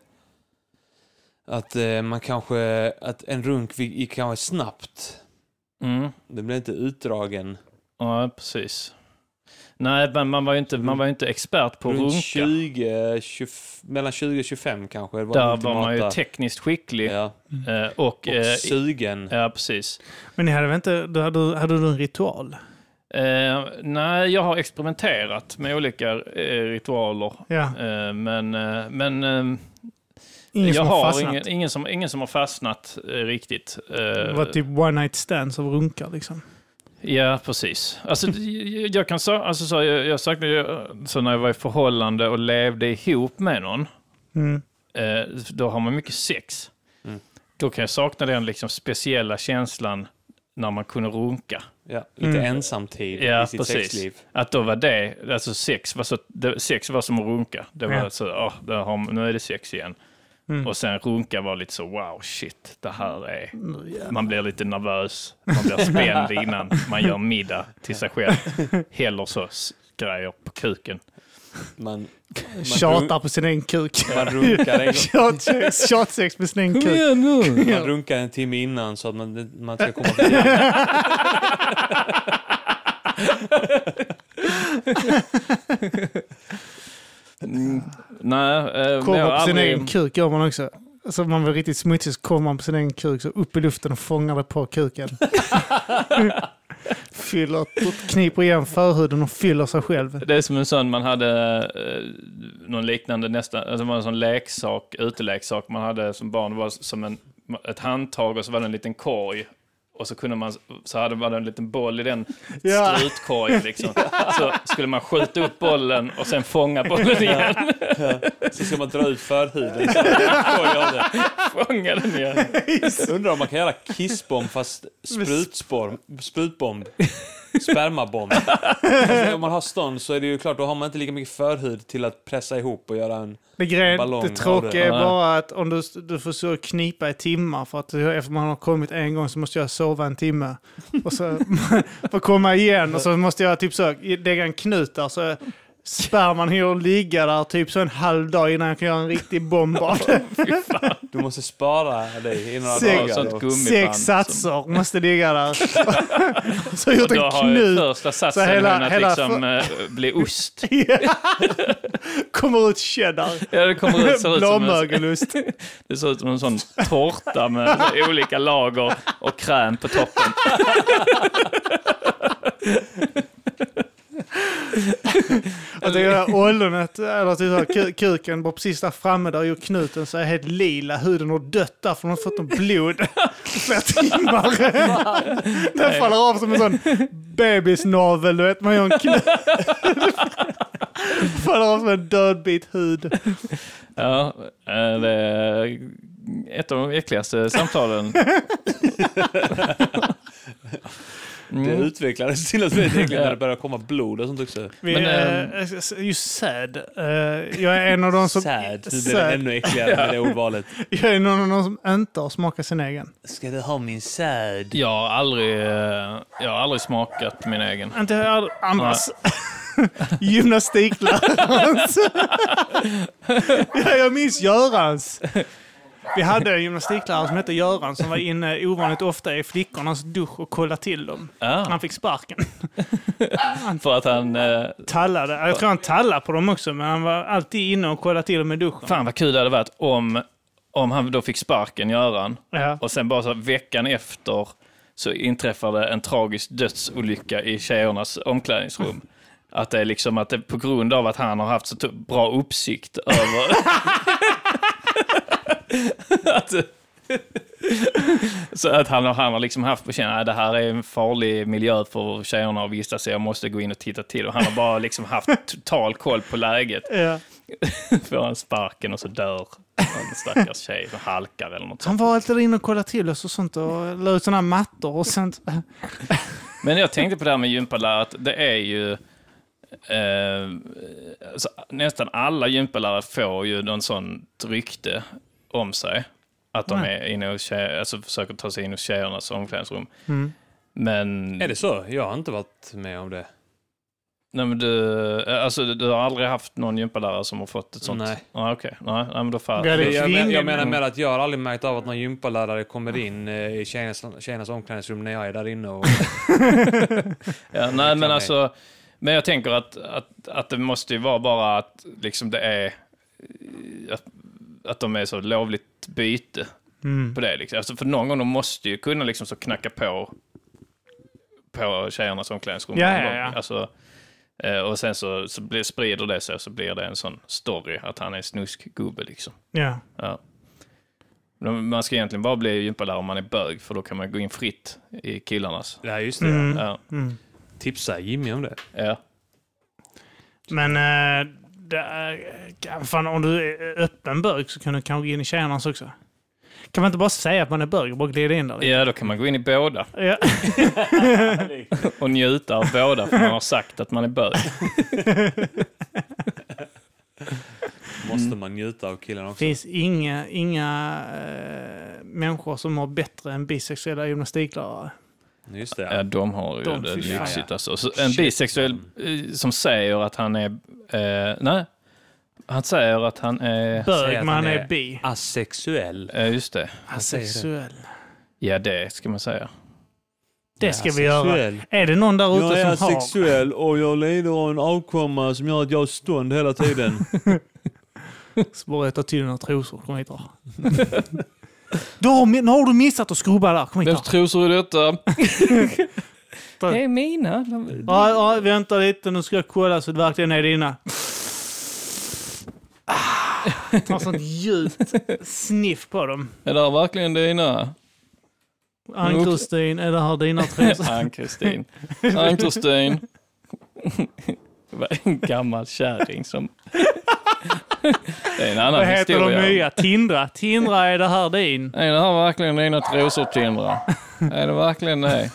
Speaker 1: att eh, man kanske, att en runk vi- gick kanske snabbt.
Speaker 3: mm,
Speaker 1: Det blev inte utdragen.
Speaker 3: ja, precis. Nej, men man var ju inte, man var ju inte expert på att
Speaker 1: Runt
Speaker 3: runka.
Speaker 1: 20, 20, mellan 20 och 25 kanske. Det var
Speaker 3: Där
Speaker 1: lite
Speaker 3: var man ju
Speaker 1: mata.
Speaker 3: tekniskt skicklig.
Speaker 1: Ja,
Speaker 3: eh, Och,
Speaker 1: och
Speaker 3: eh,
Speaker 1: sugen.
Speaker 3: ja, precis.
Speaker 2: Men ni hade väl inte, du hade, hade du en ritual?
Speaker 3: Eh, nej, jag har experimenterat med olika eh, ritualer.
Speaker 2: Ja.
Speaker 3: Eh, men eh, men eh,
Speaker 2: Ingen
Speaker 3: jag
Speaker 2: som har
Speaker 3: har
Speaker 2: fastnat?
Speaker 3: ingen, ingen, som, ingen som har fastnat eh, riktigt. Eh,
Speaker 2: Det var typ one night stands av runkar liksom.
Speaker 3: Ja, precis. Alltså, jag, jag kan säga, alltså, så, jag, jag saknar ju, eh, så när jag var i förhållande och levde ihop med någon,
Speaker 2: Mm.
Speaker 3: eh, då har man mycket sex.
Speaker 1: Mm.
Speaker 3: Då kan jag sakna den liksom, speciella känslan när man kunde runka.
Speaker 1: Ja, lite
Speaker 2: Mm.
Speaker 1: ensamtid
Speaker 3: Ja,
Speaker 1: i sitt
Speaker 3: precis.
Speaker 1: sexliv.
Speaker 3: Att då var det, alltså sex var, så, det, sex var som att runka. Det var
Speaker 2: Ja.
Speaker 3: så, oh, där har, nu är det sex igen.
Speaker 2: Mm.
Speaker 3: Och sen runka var lite så, wow, shit, det här är...
Speaker 2: Nu jävlar.
Speaker 3: Man blir lite nervös, man blir
Speaker 2: [laughs]
Speaker 3: spänd innan man gör middag till sig själv. Häller så s- grejer på kuken.
Speaker 1: Man, man,
Speaker 2: Tjatar på sin egen kuk.
Speaker 1: run- man, runkar en, gång-
Speaker 2: [laughs] Tjatsex tjatsex med sin egen kuk. Mm.
Speaker 1: man runkar en timme innan så att man, man ska komma
Speaker 2: [laughs]
Speaker 1: fram.
Speaker 3: Nej, eh, men jag har
Speaker 2: Kommer på sin
Speaker 3: aldrig...
Speaker 2: egen kuk gör man också. Alltså om man var riktigt smutsig så kommer man på sin egen kuk så upp i luften och fångar det
Speaker 1: [laughs]
Speaker 2: på kuken. fyller, kniper igen förhuden och fyller sig själv.
Speaker 3: Det är som en sån man hade, eh, någon liknande nästan, alltså det var en sån leksak, uteleksak man hade som barn. Det var som en, ett handtag och så var det en liten korg. Och så kunde man, så hade man en liten boll i den
Speaker 2: Ja.
Speaker 3: strutkorgen liksom. Så skulle man skjuta upp bollen och sen fånga bollen igen. [laughs]
Speaker 1: Så ska man dra ut
Speaker 2: [laughs]
Speaker 1: förhuden. Så jag gör det.
Speaker 3: fånga den igen.
Speaker 1: Undrar om man kan göra kissbomb fast sprutsporm, sprutbomb. Spermabomb. Alltså, om man har stånd så är det ju klart, då har man inte lika mycket förhud till att pressa ihop och göra en...
Speaker 2: Det, grejen,
Speaker 1: Ballong
Speaker 2: det
Speaker 1: har
Speaker 2: tråkiga
Speaker 3: du.
Speaker 2: är
Speaker 3: Ja.
Speaker 2: bara att om du, du får så knipa i timmar för att efter man har kommit en gång så måste jag sova en timme. Och så [laughs] får komma igen och så måste jag typ så lägga en knut där så sperman hinner ligga där typ så en halv dag innan jag kan göra en riktig bomb
Speaker 3: [laughs]
Speaker 2: av det.
Speaker 1: Du måste spara dig i några
Speaker 2: Sex-
Speaker 3: Och
Speaker 1: dagar.
Speaker 3: sånt
Speaker 1: Då.
Speaker 3: gummiband.
Speaker 2: Sex
Speaker 3: som-
Speaker 2: satser måste ligga
Speaker 3: [laughs]
Speaker 2: där. så har jag gjort
Speaker 3: Och då
Speaker 2: en
Speaker 3: har ju
Speaker 2: knut.
Speaker 3: första satsen
Speaker 2: Så hela-
Speaker 3: hunnit
Speaker 2: hela
Speaker 3: liksom eh, bli ost.
Speaker 2: [laughs] Kommer ut cheddar.
Speaker 3: Ja, det kommer ut, ser ut som en,
Speaker 2: Blåmögelost.
Speaker 3: Det ser ut som en sån tårta med olika lager och kräm på toppen.
Speaker 2: Att det där ollonet, eller att det är ku- kuken bara precis där framme där gjort knuten så är helt lila, huden har dött där för de har fått något blod i flera timmar. Den faller av som en sån bebisnavel, du vet, man gör en knut. faller av som en dödbit hud.
Speaker 3: Ja, eh, det är ett av de
Speaker 2: [laughs]
Speaker 3: äckligaste samtalen.
Speaker 1: Det
Speaker 3: Mm.
Speaker 1: utvecklades till att bli
Speaker 3: [laughs]
Speaker 1: äckligt när det började komma blod och sånt också.
Speaker 2: Vi,
Speaker 3: Men,
Speaker 2: eh, just sad. Eh, jag är en av de som...
Speaker 1: Sad. Det blev
Speaker 2: Sad.
Speaker 1: ännu äckligare
Speaker 2: [laughs]
Speaker 1: med det ordvalet.
Speaker 2: Jag är någon av de som inte har smakat sin egen.
Speaker 1: Ska du ha min sad?
Speaker 3: Jag har aldrig, eh, jag har aldrig smakat min egen.
Speaker 2: Inte jag annars. [laughs] Gymnastiklärarens. ja, jag minns Görans. Vi hade en gymnastiklärare som hette Göran som var inne ovanligt ofta i flickornas dusch och kollade till dem.
Speaker 3: Ja,
Speaker 2: Han fick sparken.
Speaker 3: för att han... eh,
Speaker 2: Tallade. Jag tror han tallade på dem också, men han var alltid inne och kollade till dem i duschen.
Speaker 3: Fan vad kul det hade varit om, om han då fick sparken, Göran.
Speaker 2: Ja.
Speaker 3: Och sen bara så här, veckan efter så inträffade en tragisk dödsolycka i tjejernas omklädningsrum. Att det är liksom att det på grund av att han har haft så t- bra uppsikt över... [laughs] att, så att han, har- han har liksom haft på känn att det här är en farlig miljö för tjejerna att vistas i, jag måste gå in och titta till. Och han har bara liksom haft total koll på läget.
Speaker 2: Ja.
Speaker 3: Får han sparken och så dör en stackars tjej som halkar eller något sånt.
Speaker 2: Han var alltid inne och kollade till oss och sånt och la ut sådana mattor och sånt.
Speaker 3: Men jag tänkte på det här med gympalärare, att det är ju... Eh, alltså, nästan alla gympalärare får ju någon sån rykte om sig. Att de
Speaker 1: Mm.
Speaker 2: Nej.
Speaker 3: är inne och tjej, alltså, försöker ta sig in hos tjejernas omklädningsrum.
Speaker 2: Mm.
Speaker 3: Men,
Speaker 1: Är det så? Jag har inte varit med om det.
Speaker 3: nej, men du, alltså, du, du har aldrig haft någon gympalärare som har fått ett sånt?
Speaker 1: Nej.
Speaker 3: Ah, Okej, nej, nej, men då fattar
Speaker 2: Ja, det är
Speaker 1: Jag, men,
Speaker 2: kvinnor.
Speaker 1: jag menar med att jag har aldrig märkt av att någon gympalärare kommer in eh, i tjejernas, tjejernas omklädningsrum när jag är där inne.
Speaker 2: [laughs]
Speaker 1: Och,
Speaker 3: Ja, nej, men alltså, men jag tänker att, att, att det måste ju vara bara att liksom det är eh, att, att de är så lovligt byte
Speaker 2: Mm.
Speaker 3: på det. Liksom. Alltså, för någon gång de måste ju kunna liksom så knacka på på tjejernas omklädningsrum.
Speaker 2: Ja, ja, ja.
Speaker 3: Alltså, eh, och sen så, så blir, sprider det sig och så blir det en sån story att han är en snuskgubbe liksom.
Speaker 2: Ja.
Speaker 3: Ja. Men Man ska egentligen bara bli gympalärare om man är bög för då kan man gå in fritt i killarnas.
Speaker 1: ja, just det.
Speaker 2: Mm.
Speaker 3: Ja,
Speaker 2: Mm.
Speaker 1: Tipsa Jimmy om det.
Speaker 3: ja.
Speaker 2: Men eh, det är, fan, om du är öppen bög så kan du kanske gå in i tjejernas också. Kan man inte bara säga att man är bög och bara glida in där?
Speaker 3: ja då kan man gå in i båda.
Speaker 2: Ja. [laughs]
Speaker 3: och njuta av båda för man har sagt att man är bög.
Speaker 1: Måste man njuta av killen
Speaker 2: Det
Speaker 1: också?
Speaker 2: finns inga, inga eh, människor som har bättre än bisexuella gymnastiklärare. Mm.
Speaker 1: Just det.
Speaker 3: Ja,
Speaker 1: Ja.
Speaker 3: de har ju
Speaker 2: De,
Speaker 3: det
Speaker 2: fy fan.
Speaker 3: lyxigt alltså. Så en bisexuell eh, som säger att han är... Eh, nej, han säger att han är...
Speaker 1: att
Speaker 2: Bög,
Speaker 1: han
Speaker 2: men han är,
Speaker 1: är-
Speaker 2: bi.
Speaker 1: Asexuell.
Speaker 3: Eh, just det.
Speaker 1: säger det.
Speaker 2: Asexuell.
Speaker 3: Ja, det ska man säga.
Speaker 2: Det ska vi göra.
Speaker 1: Asexuell.
Speaker 2: Är det någon där
Speaker 1: Jag är
Speaker 2: ute som har...
Speaker 1: asexuell och jag lider av en avkomma som gör att jag är stånd hela tiden.
Speaker 2: Så bara ta till dina trosor. Kom hit då. [laughs] då har, mi- nu har du missat att skrubba där. Kom hit då.
Speaker 3: trosor är detta?
Speaker 2: [laughs] Det
Speaker 3: är mina.
Speaker 2: Ja, ja, vänta lite. Nu ska jag kolla så det verkligen är dina. Ah, ta sånt djupt sniff på dem.
Speaker 3: Är det här verkligen dina?
Speaker 2: Ann-Kristin, är det här dina [laughs] trosor?
Speaker 3: [laughs] Ann-Kristin. Ann-Kristin. [laughs] Det var en gammal
Speaker 2: [laughs]
Speaker 3: kärring som... Det är en annan
Speaker 2: Vad heter de
Speaker 3: historia.
Speaker 2: nya? Tindra. Tindra, är det här din?
Speaker 3: Är det här verkligen dina trosor, Tindra? Är det verkligen det?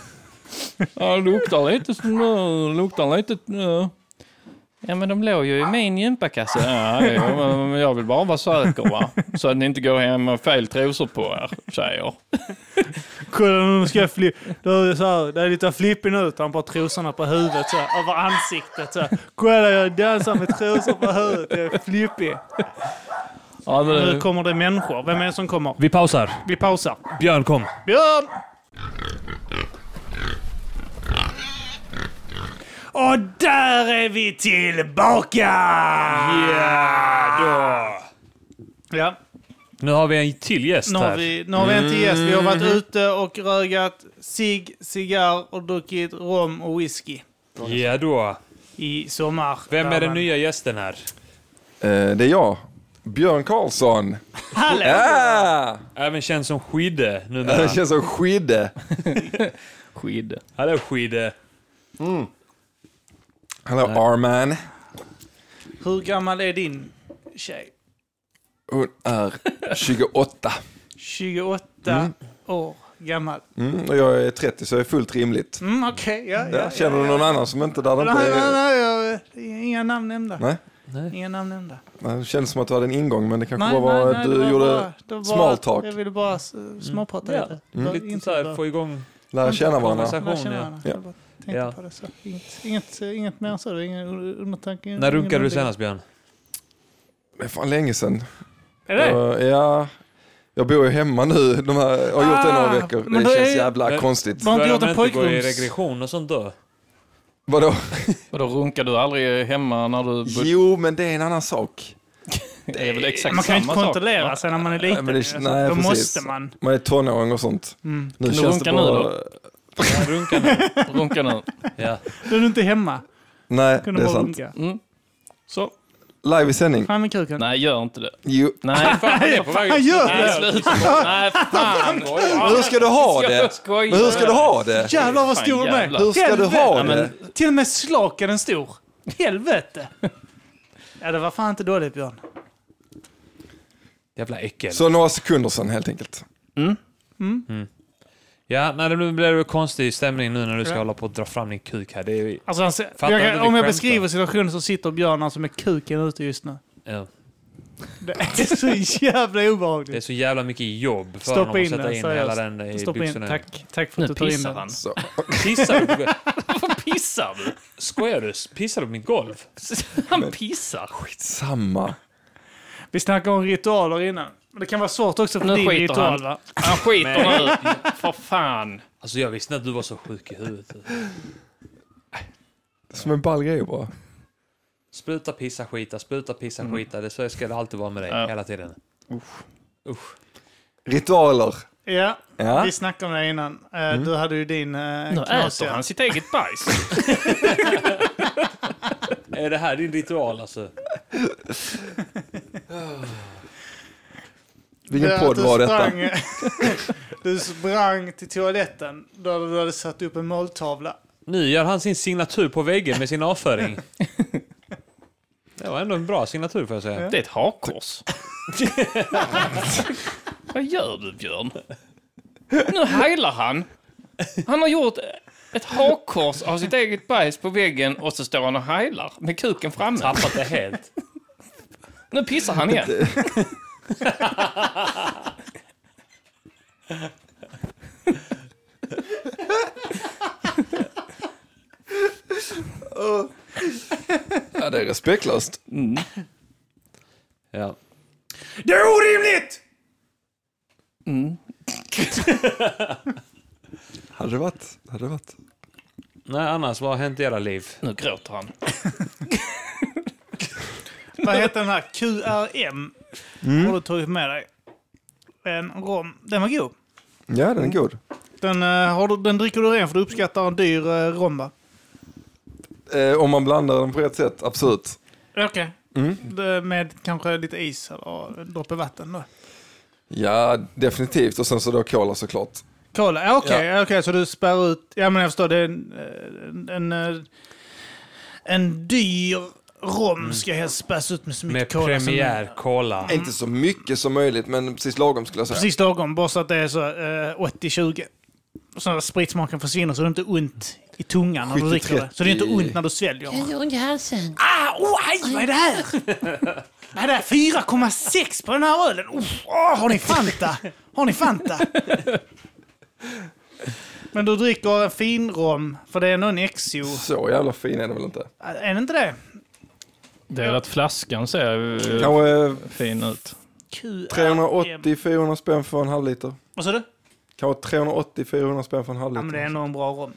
Speaker 3: Ja, det luktar lite snö, det luktar lite eh. snö. Ja, men de låg ju i min gympakasse. Ja, det gör de, men jag vill bara vara säker, va? Så att ni inte går hem med fel trosor på er, tjejer.
Speaker 2: Kolla nu ska jag flippa. Det är lite flippig ut. Han bara trosorna på huvudet så här, över ansiktet så här. Kolla jag dansar med trosor på huvudet. Jag är flippig.
Speaker 3: Ja,
Speaker 2: Nu
Speaker 3: det,
Speaker 2: kommer det människor. Vem är det som kommer?
Speaker 1: Vi pausar.
Speaker 2: [laughs] Vi pausar.
Speaker 1: Björn kom.
Speaker 2: Björn! Och där är vi tillbaka! Ja,
Speaker 1: Nu har vi en till gäst
Speaker 2: nu har
Speaker 1: här.
Speaker 2: vi, nu har vi en till gäst. Vi har varit
Speaker 1: Mm.
Speaker 2: ute och rögat cigg, cigarr och druckit rom och whisky.
Speaker 1: Ja då.
Speaker 2: i sommar.
Speaker 1: Vem
Speaker 2: där
Speaker 1: är den
Speaker 2: man-
Speaker 1: nya gästen här?
Speaker 4: Eh, det är jag, Björn Karlsson.
Speaker 2: Hallå!
Speaker 1: Äh?
Speaker 4: Ah!
Speaker 1: Även känd som Skidde numera.
Speaker 4: Det känns som skidde.
Speaker 5: Skid.
Speaker 1: Hallå Skidde.
Speaker 4: Hallå R-man.
Speaker 2: Hur gammal är din tjej?
Speaker 4: Hon är 28.
Speaker 2: 28
Speaker 1: Mm.
Speaker 2: år gammal.
Speaker 4: Mm, och jag är 30 så det är fullt rimligt.
Speaker 2: Mm, Okej, ja, ja.
Speaker 4: Ja, känner du någon annan som inte där det
Speaker 1: Mm.
Speaker 4: inte
Speaker 2: Nej, nej,
Speaker 4: är...
Speaker 2: nej, jag, det är inga namn nämnda.
Speaker 4: Nej.
Speaker 2: Inga namn nämnda.
Speaker 4: Nej, Det kändes som att du hade en ingång men det kanske
Speaker 2: Nej,
Speaker 4: bara
Speaker 2: nej,
Speaker 4: var
Speaker 2: nej,
Speaker 4: du
Speaker 2: det var
Speaker 4: gjorde
Speaker 2: bara- det var
Speaker 4: small
Speaker 2: bara-
Speaker 4: talk.
Speaker 2: Jag ville bara eh, småprata
Speaker 1: Mm. Ja.
Speaker 2: lite. Det var
Speaker 1: Lite
Speaker 2: inte
Speaker 1: så här,
Speaker 2: bara-
Speaker 1: få igång...
Speaker 4: lära
Speaker 2: Mm,
Speaker 4: känna varandra.
Speaker 1: Konversation.
Speaker 2: Lära känna
Speaker 1: ja.
Speaker 2: varandra.
Speaker 4: Ja.
Speaker 2: Jag bara tänkte
Speaker 1: Ja.
Speaker 2: på det så. Inget, inget, inget mer än så. Det är Ingen un- undertanke. ingen-
Speaker 1: När runkade du
Speaker 2: ingen-
Speaker 1: senast Björn?
Speaker 4: Det är fan länge sedan.
Speaker 2: Är det?
Speaker 4: Jag, ja, jag bor ju hemma nu. De här, jag har gjort det några
Speaker 2: Ah,
Speaker 4: veckor.
Speaker 2: men
Speaker 4: Det
Speaker 2: då
Speaker 4: känns
Speaker 2: är-
Speaker 4: jävla
Speaker 1: Men-
Speaker 4: konstigt.
Speaker 2: Var inte
Speaker 1: Börjar
Speaker 2: gjort en
Speaker 1: man inte gå i
Speaker 2: pojkrums-
Speaker 1: regression och sånt
Speaker 2: [laughs]
Speaker 1: då?
Speaker 4: Vadå?
Speaker 5: Vadå, runkar du aldrig hemma när du...
Speaker 4: Jo, men det är en annan sak.
Speaker 5: Det är väl exakt
Speaker 2: Man kan ju inte
Speaker 5: samma sak?
Speaker 2: kontrollera sig när man är liten.
Speaker 4: men det-
Speaker 2: alltså.
Speaker 4: nej,
Speaker 2: Då
Speaker 4: precis.
Speaker 2: måste man.
Speaker 4: Man är tonåring och sånt.
Speaker 2: Mm.
Speaker 4: Nu
Speaker 5: Kan du
Speaker 4: känns det
Speaker 5: runka nu
Speaker 4: bara...
Speaker 1: Ja, Runka nu.
Speaker 5: Runka nu.
Speaker 1: Ja.
Speaker 2: Då är du inte hemma.
Speaker 4: Nej,
Speaker 2: Kunde
Speaker 4: det är
Speaker 2: bara
Speaker 4: sant.
Speaker 2: runka.
Speaker 5: Mm. Så.
Speaker 4: Live i sändning.
Speaker 2: Fram med kuken.
Speaker 5: Nej, gör inte det.
Speaker 4: Jo.
Speaker 5: Nej, fan.
Speaker 1: Han är på väg
Speaker 2: Han
Speaker 1: ut.
Speaker 2: gör
Speaker 5: Nej,
Speaker 2: det!
Speaker 5: sluta. Nej, fan.
Speaker 4: Men hur ska du ha det?
Speaker 5: skojar.
Speaker 4: Men hur ska du ha det?
Speaker 2: Jävlar vad stor
Speaker 5: Fan,
Speaker 2: den är.
Speaker 5: jävlar.
Speaker 4: Hur ska du ha
Speaker 5: Ja, men-
Speaker 4: det?
Speaker 2: Till och med slak är den stor.
Speaker 4: [laughs]
Speaker 2: Helvete! Ja, det var fan inte dåligt Björn.
Speaker 1: Jävla äckel.
Speaker 4: Så några sekunder sedan helt enkelt.
Speaker 1: Ja, nej, det blir det konstig stämning nu när du ska hålla på att dra fram din kuk här. Det är ju...
Speaker 2: Alltså, alltså,
Speaker 1: Fattar
Speaker 2: jag,
Speaker 1: du,
Speaker 2: kan-
Speaker 1: vi
Speaker 2: om jag
Speaker 1: skämtar.
Speaker 2: beskriver situationen så sitter Björn alltså med kuken ute just nu.
Speaker 1: Ja.
Speaker 2: [laughs] Det är så jävla
Speaker 1: Det är
Speaker 2: obehagligt.
Speaker 1: så jävla mycket jobb för
Speaker 2: Stoppa
Speaker 1: honom att
Speaker 2: in
Speaker 1: sätta
Speaker 2: den,
Speaker 1: in hela
Speaker 2: seriöst.
Speaker 1: den i
Speaker 2: Stoppa in.
Speaker 1: byxorna.
Speaker 2: Tack, tack för att du
Speaker 5: Nu
Speaker 2: tar in
Speaker 5: pissar han.
Speaker 2: den.
Speaker 4: Så.
Speaker 1: [laughs] Pissar du?
Speaker 5: Pissar du?
Speaker 1: Skojar du? Pissar du på mitt golv?
Speaker 5: Han pissar.
Speaker 4: Samma.
Speaker 2: Vi snackade om ritualer innan. Men det kan vara svårt också för
Speaker 5: Nu
Speaker 2: din
Speaker 5: skiter
Speaker 2: ritual
Speaker 5: han.
Speaker 2: va?
Speaker 5: Han skiter nu. För fan.
Speaker 1: Alltså jag visste inte att du var så sjuk i huvudet.
Speaker 4: Som en ball grej bara.
Speaker 1: Spruta, pissa, skita, spruta, pissa,
Speaker 2: Mm.
Speaker 1: skita. Det är så jag ska det alltid vara med dig,
Speaker 5: Ja.
Speaker 1: hela tiden.
Speaker 4: Ritualer.
Speaker 2: Ja,
Speaker 4: Ja.
Speaker 2: vi snackade om det innan. Eh,
Speaker 1: Mm.
Speaker 2: Du hade ju din
Speaker 5: Nu
Speaker 2: uh,
Speaker 5: äter han sitt eget bajs.
Speaker 1: Är det här din ritual alltså?
Speaker 4: Vilken podd var detta?
Speaker 2: [laughs] du sprang till toaletten där du hade satt upp en måltavla.
Speaker 1: Nu gör han sin signatur på väggen med sin
Speaker 4: [laughs]
Speaker 1: avföring. Det var ändå en bra signatur får jag säga.
Speaker 5: Det är ett hakkors. Vad gör du, Björn? Nu heilar han. Han har gjort ett hakkors av sitt eget bajs på väggen och så står han och heilar med kuken framme.
Speaker 1: Tappat det helt.
Speaker 5: Nu pissar han igen.
Speaker 4: Ja, det är respektlöst.
Speaker 1: Ja.
Speaker 2: Det är orimligt!
Speaker 4: Hade det varit. Hade det varit.
Speaker 1: Nej, annars, vad har hänt i era liv?
Speaker 5: Nu gråter han.
Speaker 2: Vad heter den här? QRM.
Speaker 1: Mm.
Speaker 2: Har du tagit med dig? En rom. Den var god.
Speaker 4: Ja,
Speaker 2: Mm.
Speaker 4: den är god.
Speaker 2: Den, eh, har du, den dricker du ren för du uppskattar en dyr uh, rom va?
Speaker 4: Eh, om man blandar den på rätt sätt, absolut.
Speaker 2: Okej.
Speaker 1: Mm.
Speaker 2: Det- Med kanske lite is eller en droppe vatten då.
Speaker 4: Ja, definitivt. Och sen så då cola såklart.
Speaker 2: Cola, ja, okej.
Speaker 4: Ja.
Speaker 2: ja. okej, så du spär ut... Ja, men jag förstår. Det är en, eh, en, en, en dyr rom ska helst späs ut med så mycket
Speaker 1: Mm. Med
Speaker 2: cola
Speaker 1: premiär
Speaker 2: som
Speaker 1: cola.
Speaker 4: Inte så mycket som möjligt, men precis lagom skulle jag säga.
Speaker 2: Mm. Precis lagom, bara så att det är så eh, 80-20. Så att spritsmaken försvinner så det är inte ont i tungan när du dricker det. Så det är inte
Speaker 4: 70-30.
Speaker 2: ont när du sväljer.
Speaker 6: Jag har ont i halsen.
Speaker 2: Ah, oh, aj, vad är det [laughs] här? Nej, det är 4,6 på den här ölen. Oh, åh, har ni Fanta? Har ni Fanta? Men du dricker en fin rom, för det är ändå en Exio. Äh,
Speaker 4: Så jävla fin är den väl inte?
Speaker 2: Är det inte det?
Speaker 3: Det är att flaskan ser eh,
Speaker 4: Kanske
Speaker 3: fin ut.
Speaker 2: Q-
Speaker 4: 380-400 spänn för en halv liter.
Speaker 2: Vad sa du?
Speaker 4: Kanske 380-400 spänn för en halv
Speaker 2: Ja, men det är
Speaker 4: liter.
Speaker 2: ändå en bra rom.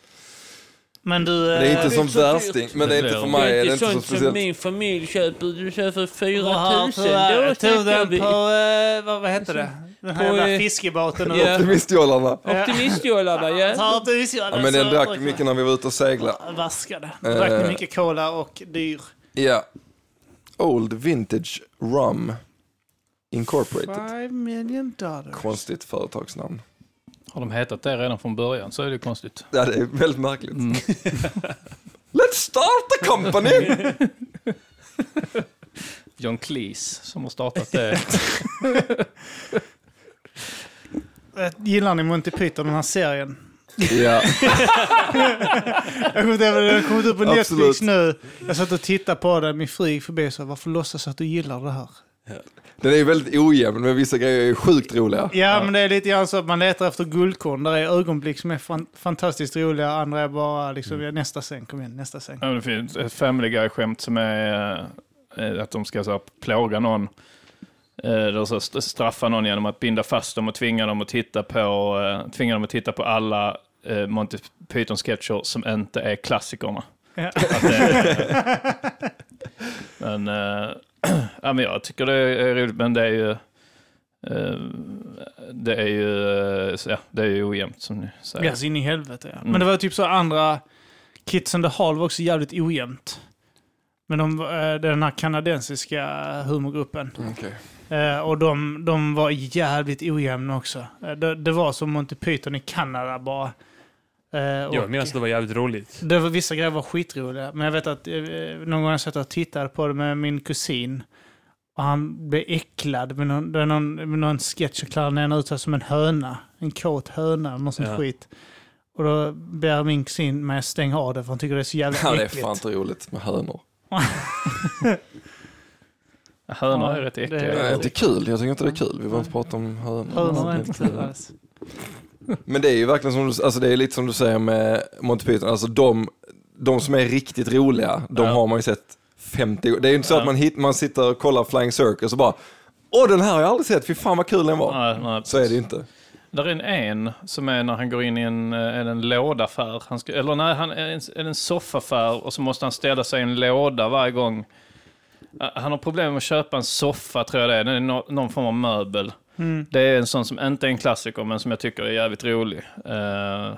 Speaker 2: Men du...
Speaker 4: Det är
Speaker 2: eh,
Speaker 4: inte som
Speaker 1: det är så
Speaker 4: värsting, men det är inte för mig
Speaker 1: det
Speaker 4: är
Speaker 1: är
Speaker 4: det
Speaker 1: inte
Speaker 4: inte så
Speaker 1: sånt som
Speaker 4: speciellt.
Speaker 1: min familj köper. Du köper
Speaker 2: du har
Speaker 1: 4000.
Speaker 2: tyvärr
Speaker 1: Då snackar
Speaker 2: turen
Speaker 1: vi.
Speaker 2: på... eh, vad, vad heter det? Den här
Speaker 1: På,
Speaker 2: jävla
Speaker 1: eh,
Speaker 2: fiskebåten. och-
Speaker 1: ja.
Speaker 4: Optimistjollarna.
Speaker 1: Optimistjollarna, ja.
Speaker 2: Ta du så
Speaker 4: Ja, men den drack mycket när vi var ute och seglade.
Speaker 2: Vaskade. Drack ni
Speaker 4: Eh.
Speaker 2: mycket cola och dyr.
Speaker 4: Ja. Old Vintage Rum Incorporated.
Speaker 2: Five million dollars.
Speaker 4: Konstigt företagsnamn.
Speaker 3: Har de hetat det redan från början så är det ju konstigt.
Speaker 4: Ja, det är väldigt märkligt. [laughs] Let's start a company! [laughs]
Speaker 3: John Cleese som har startat det.
Speaker 2: Eh, Gillar ni Monty Python, den här serien?
Speaker 4: ja.
Speaker 2: Jag kommer inte ihåg, den har kommit upp på Netflix
Speaker 4: Absolut.
Speaker 2: nu. Jag satt och tittade på den, min fru gick förbi och sa varför låtsas att du gillar det här?
Speaker 4: Den är ju väldigt ojämn, men vissa grejer är sjukt roliga.
Speaker 2: Ja, men det är lite grann så att man letar efter guldkorn. Där är ögonblick som är fan, fantastiskt roliga, andra är bara liksom, ja, nästa scen, kom igen, nästa [laughs] scen.
Speaker 3: [laughs] Ja, men det finns ett Family Guy-skämt som är eh, att de ska så här, plåga någon. Eh, Eller så st- straffa någon genom att binda fast dem och tvinga dem att titta på, eh, tvinga dem att titta på alla eh, Monty Python-sketcher som inte är klassikerna.
Speaker 2: Ja.
Speaker 3: Att det [laughs] är- men, eh, [clears throat] ja, men jag tycker det är roligt, men det är ju... eh, Det är ju, eh, så ja, det är ju ojämnt som ni säger.
Speaker 2: Ja, så in i helvete ja. Men
Speaker 3: Mm.
Speaker 2: det var typ så andra, Kids and the Hall var också jävligt ojämnt. Men de, eh, det är den här kanadensiska humorgruppen.
Speaker 4: Okej.
Speaker 2: Eh, och de, de var jävligt ojämna också. Eh, det, det var som Monty Python i Kanada bara. Eh, och
Speaker 1: Jag minns att det var jävligt roligt.
Speaker 2: det var, vissa grejer var skitroliga. Men jag vet att eh, någon gång har jag satt och tittade på det med min kusin. Och han blev äcklad med någon, det är någon, med någon sketch och klarar den ut sig som en höna. En kåt höna, något sånt
Speaker 1: Ja.
Speaker 2: skit. Och då ber min kusin mig att stänga av det för han tycker det är så jävla
Speaker 4: Ja, det är
Speaker 2: äckligt.
Speaker 4: fan inte roligt med hönor.
Speaker 3: Hönor är
Speaker 2: Ja,
Speaker 3: rätt
Speaker 2: det är-
Speaker 3: äckliga.
Speaker 4: Det är inte kul, jag tycker inte det är kul. Vi behöver inte prata om
Speaker 2: Hönor är inte kul alls.
Speaker 4: Men det är ju verkligen som du, alltså det är lite som du säger med Monty Python, alltså de, de som är riktigt roliga, de
Speaker 3: Ja.
Speaker 4: har man ju sett 50 gånger. Det är ju inte så
Speaker 3: Ja.
Speaker 4: att man, hit, man sitter och kollar Flying Circus och bara Åh den här har jag aldrig sett, fy fan vad kul den var.
Speaker 3: Nej, nej,
Speaker 4: Så är det ju inte.
Speaker 3: Där är en, en som är när han går in i en, eh, en, en lådaffär. Han ska, eller nej, han är en, är en soffaffär och så måste han ställa sig i en låda varje gång. Eh, Han har problem med att köpa en soffa tror jag det är. Den är nå- någon form av möbel.
Speaker 2: Mm.
Speaker 3: Det är en sån som inte är en klassiker men som jag tycker är jävligt rolig. Eh,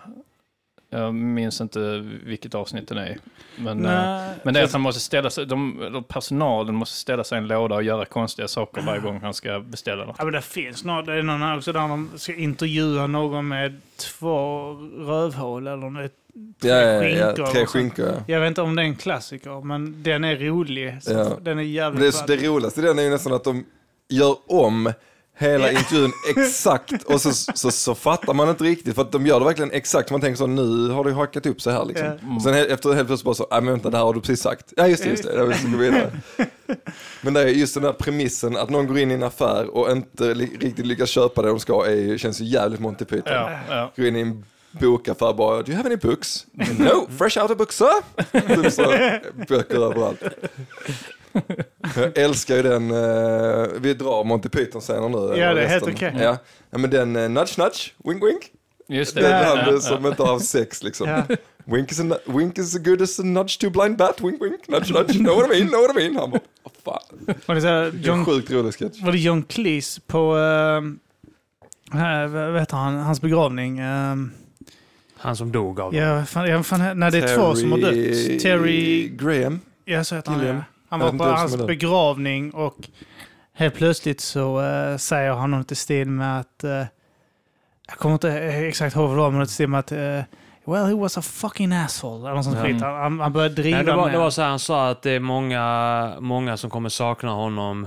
Speaker 3: jag minns inte vilket avsnitt den är i, men, eh,
Speaker 2: Nej.
Speaker 3: men det är att han måste ställa sig, de, eller personalen måste ställa sig i en låda och göra konstiga saker varje gång han ska beställa något.
Speaker 2: Ja, men det finns något. Det är någon här också där de ska intervjua någon med två rövhål eller något.
Speaker 4: Ja, ja, ja,
Speaker 2: skinkor
Speaker 4: ja.
Speaker 2: och
Speaker 4: Tre
Speaker 2: sånt.
Speaker 4: skinkor. Ja.
Speaker 2: Jag vet inte om det är en klassiker, men den är rolig. Så
Speaker 4: Ja.
Speaker 2: Den är
Speaker 4: Men
Speaker 2: jävligt
Speaker 4: Det, är, så- det
Speaker 2: ball.
Speaker 4: roligaste i den är ju nästan att de gör om hela
Speaker 2: [laughs]
Speaker 4: intervjun exakt och så, så, så fattar man inte riktigt för att de gör det verkligen exakt. Man tänker så nu har det ju hackat upp sig här liksom.
Speaker 2: Ja.
Speaker 3: Mm.
Speaker 4: Och sen he- efter helt plötsligt bara så, nej men vänta det här har du precis sagt. Ja just det, just det. Jag vill
Speaker 2: [laughs]
Speaker 4: gå vidare. Men det är just den där premissen att någon går in i en affär och inte li- riktigt lyckas köpa det de ska är, ju- känns ju jävligt Monty Python.
Speaker 3: Ja, ja.
Speaker 4: Går in i en bokaffär bara, do you have any
Speaker 3: [laughs]
Speaker 4: books? no, fresh out of books sir. Typ så, böcker överallt. Jag älskar ju den, eh, vi drar Monty Python-scener nu. eller
Speaker 2: Ja, det är helt
Speaker 4: resten.
Speaker 2: okej.
Speaker 4: Ja. ja, men den eh, nudge nudge, wink wink.
Speaker 3: Just det.
Speaker 4: Den
Speaker 2: Ja,
Speaker 4: handen
Speaker 3: Ja,
Speaker 4: som inte har sex liksom.
Speaker 2: Ja.
Speaker 4: Wink, is a, nu- wink is as good as a nudge to a blind bat, wink wink, nudge nudge, know what I mean, know what I mean. Han bara, "Åh, fan.
Speaker 2: Var det, så här,
Speaker 4: Det är en
Speaker 2: John,
Speaker 4: sjukt rolig sketch.
Speaker 2: var det John Cleese på... ehm, här, vad vet han, hans begravning? Um,
Speaker 1: Han som dog av
Speaker 2: ja, vad fan, ja, vad fan, när det är två som har dött. Terry...
Speaker 4: Graham.
Speaker 2: Jag så heter han,
Speaker 4: Gilliam.
Speaker 2: ja. han
Speaker 4: Jag
Speaker 2: var
Speaker 4: vet
Speaker 2: på
Speaker 4: inte vem som
Speaker 2: hans
Speaker 4: är det.
Speaker 2: begravning och helt plötsligt så eh, säger han något i stil med att... eh, jag kommer inte exakt ihåg vad det var, men något i stil med att... eh, Well, he was a fucking asshole. Eller något sånt
Speaker 1: Ja.
Speaker 2: skit. Han- Han, han började driva
Speaker 1: Nej, det, var,
Speaker 2: med
Speaker 1: det var så här, han sa att det är många, många som kommer sakna honom.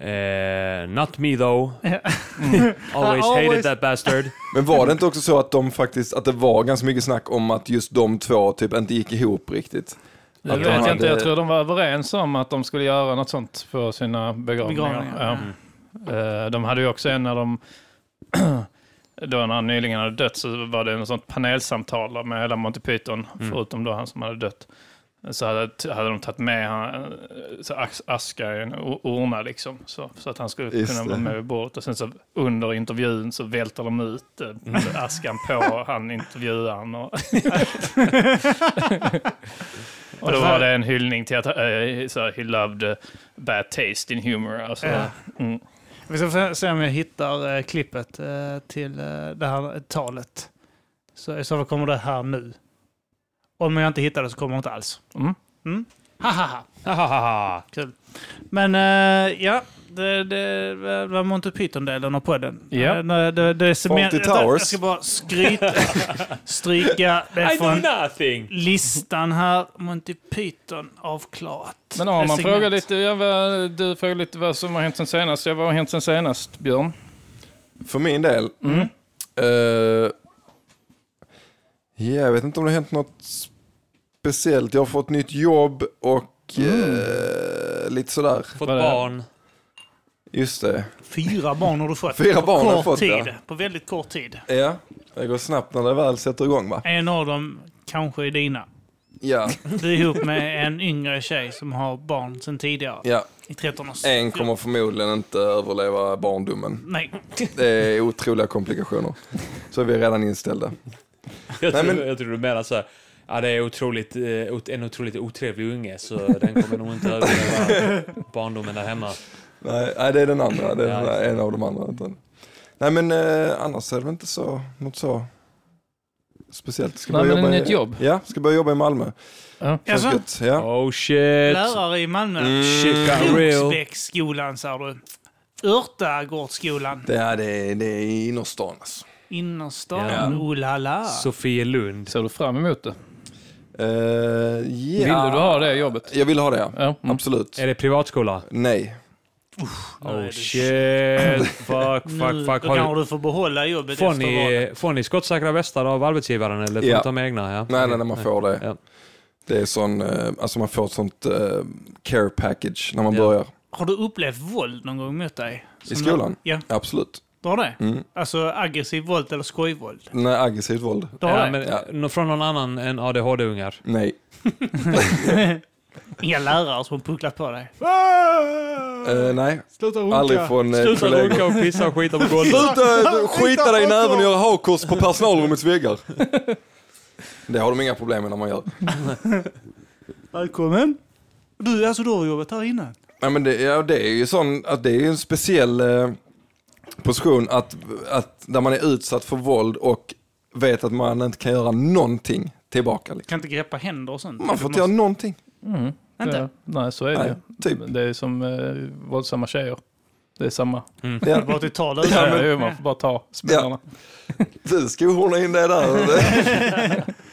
Speaker 1: Eh, not me [laughs] though. Always hated
Speaker 2: Always-
Speaker 1: that bastard.
Speaker 4: Men var det inte också så att de faktiskt, att det var ganska mycket snack om att just de två typ inte gick ihop riktigt?
Speaker 3: Jag
Speaker 4: Att
Speaker 3: vet
Speaker 4: de
Speaker 3: jag inte,
Speaker 4: hade-
Speaker 3: jag tror de var överens om att de skulle göra något sånt på sina begravningar.
Speaker 2: Begravningar,
Speaker 3: Ja. Eh, De hade ju också en när de, [clears throat] då när han nyligen
Speaker 4: Mm.
Speaker 3: hade dött så var det en sånt panelsamtal med hela Monty Python, förutom då han som hade dött. Så hade, hade de tagit med han, så As- Askar i en o- urna liksom, så, så att han skulle
Speaker 4: Just
Speaker 3: kunna
Speaker 4: det.
Speaker 3: vara med vid bordet. Och sen så under intervjun så välter de ut eh,
Speaker 4: Mm.
Speaker 3: askan på han intervjuaren. Och,
Speaker 2: [laughs]
Speaker 3: och då var det en hyllning till att eh, så här, he loved eh, bad taste in humor. Alltså,
Speaker 2: Ja.
Speaker 3: mm.
Speaker 2: Eh, Vi ska få se om jag hittar eh, klippet eh, till eh, det här talet. Så i så fall kommer det här nu. Om jag inte hittar det så kommer det inte alls.
Speaker 3: Mm.
Speaker 2: Mm. Ha, ha, ha.
Speaker 1: Hahaha.
Speaker 2: Kul. Men eh, ja, det, det var Monty Python-delen av podden.
Speaker 3: Ja.
Speaker 2: Eh, Det, det, det är cement-
Speaker 4: Fawlty
Speaker 2: Vänta, Jag
Speaker 4: Towers.
Speaker 2: ska bara skryta, stryka det
Speaker 1: [laughs] I
Speaker 2: från
Speaker 1: know nothing!
Speaker 2: listan här. Monty Python avklarat.
Speaker 3: Men om man
Speaker 2: Segment.
Speaker 3: frågar lite, jag var, du frågar lite vad som har hänt sen senast. Ja, vad har hänt sen senast, Björn?
Speaker 4: För min del.
Speaker 3: Mm.
Speaker 4: Eh, jag vet inte om det har hänt något speciellt. Jag har fått nytt jobb och eh, lite sådär.
Speaker 1: Fått
Speaker 3: Vad är det?
Speaker 1: barn.
Speaker 4: Just det.
Speaker 2: Fyra barn har du fått.
Speaker 4: Fyra
Speaker 2: på
Speaker 4: barn har
Speaker 2: kort
Speaker 4: jag fått,
Speaker 2: tid.
Speaker 4: ja.
Speaker 2: På väldigt kort tid.
Speaker 4: Ja, det går snabbt när det väl sätter igång va?
Speaker 2: En av dem kanske är dina.
Speaker 4: Ja,
Speaker 2: Du är ihop med en yngre tjej som har barn sedan tidigare.
Speaker 4: ja.
Speaker 2: I 13 års
Speaker 4: En kommer förmodligen inte överleva barndomen. [laughs]
Speaker 2: Nej.
Speaker 4: Det är otroliga komplikationer. Så vi är redan inställda.
Speaker 1: Jag
Speaker 4: Nej,
Speaker 1: tror,
Speaker 4: men-
Speaker 1: jag tror du menar så här. Ja, det är otroligt, eh, ot- en otroligt otrevlig unge, så den kommer nog inte överleva
Speaker 4: [laughs]
Speaker 1: barndomen där hemma.
Speaker 4: Nej, nej det är den andra. Det är den
Speaker 1: Ja,
Speaker 4: där, en av de andra. utan- Nej men eh, annars är det väl inte så, något så speciellt. Ska
Speaker 3: Nej,
Speaker 4: börja
Speaker 3: men
Speaker 4: jobba
Speaker 3: ett
Speaker 4: i,
Speaker 3: jobb.
Speaker 4: Ja, ska börja jobba i Malmö. Känns
Speaker 2: Alltså,
Speaker 4: gött, ja.
Speaker 1: Oh shit!
Speaker 2: lärare i Malmö.
Speaker 4: Mm.
Speaker 1: Shit got real.
Speaker 2: Kroksbäcksskolan, sa du. Örtagårdsskolan.
Speaker 4: Det, är, det, är, det är i innerstan alltså.
Speaker 2: Innerstan. Oh la la.
Speaker 1: Sofielund.
Speaker 3: Ser du fram emot det?
Speaker 4: Eh, ja.
Speaker 3: Vill du ha det jobbet?
Speaker 4: Jag vill ha det ja.
Speaker 3: Ja. Mm.
Speaker 4: Absolut.
Speaker 1: Är det privatskola?
Speaker 4: Nej.
Speaker 1: Oh [laughs]
Speaker 2: det-
Speaker 1: shit! Fuck,
Speaker 2: Nu,
Speaker 1: fuck,
Speaker 2: då
Speaker 1: fuck. Har
Speaker 2: kanske
Speaker 1: du,
Speaker 2: du får behålla jobbet
Speaker 1: får,
Speaker 2: efter valet.
Speaker 1: ni, får ni skottsäkra västar av arbetsgivaren eller får
Speaker 4: Ja.
Speaker 1: ni ta med egna? Ja.
Speaker 4: Nej, nej, nej, man får det.
Speaker 1: Ja.
Speaker 4: Det är sån, eh, alltså man får ett sånt eh, care package när man
Speaker 1: Ja.
Speaker 4: börjar.
Speaker 2: Har du upplevt våld någon gång mot dig? Som-
Speaker 4: skolan?
Speaker 2: Ja,
Speaker 4: Absolut.
Speaker 2: du har det?
Speaker 4: Mm.
Speaker 2: Alltså aggressiv våld eller skojvåld?
Speaker 4: Nej, aggressivt våld.
Speaker 2: Du har
Speaker 1: Ja,
Speaker 2: det?
Speaker 1: men, eh,
Speaker 4: Ja.
Speaker 1: nå- Från någon annan än ADHD-ungar.
Speaker 4: Nej.
Speaker 2: Inga lärare som har pucklat på dig?
Speaker 4: Eh, nej,
Speaker 2: Sluta
Speaker 4: aldrig från eh, kollegor.
Speaker 1: och pissa och skita på golvet.
Speaker 4: Sluta eh, skita dig i näven och göra hakkors på personalrummets väggar. Det har de inga problem med när man gör.
Speaker 2: Välkommen! Du, alltså du har jobbat här innan?
Speaker 4: Nej, men det, ja, det är ju sån, att det är ju en speciell eh, position att, att där man är utsatt för våld och vet att man inte kan göra någonting tillbaka. Liksom.
Speaker 2: Kan inte greppa händer och sånt?
Speaker 4: Man får
Speaker 2: Du
Speaker 4: inte göra
Speaker 2: måste-
Speaker 4: någonting.
Speaker 3: Mm.
Speaker 2: Vänta.
Speaker 3: Ja. Nej, så är det
Speaker 4: Nej,
Speaker 3: ju.
Speaker 4: typ.
Speaker 3: Det är som eh, våldsamma tjejer. Det är samma.
Speaker 4: Ja.
Speaker 2: Bara till tal
Speaker 3: Ja,
Speaker 2: utan.
Speaker 3: men... Man får bara ta smällarna.
Speaker 4: Du skohornar in det där. [laughs]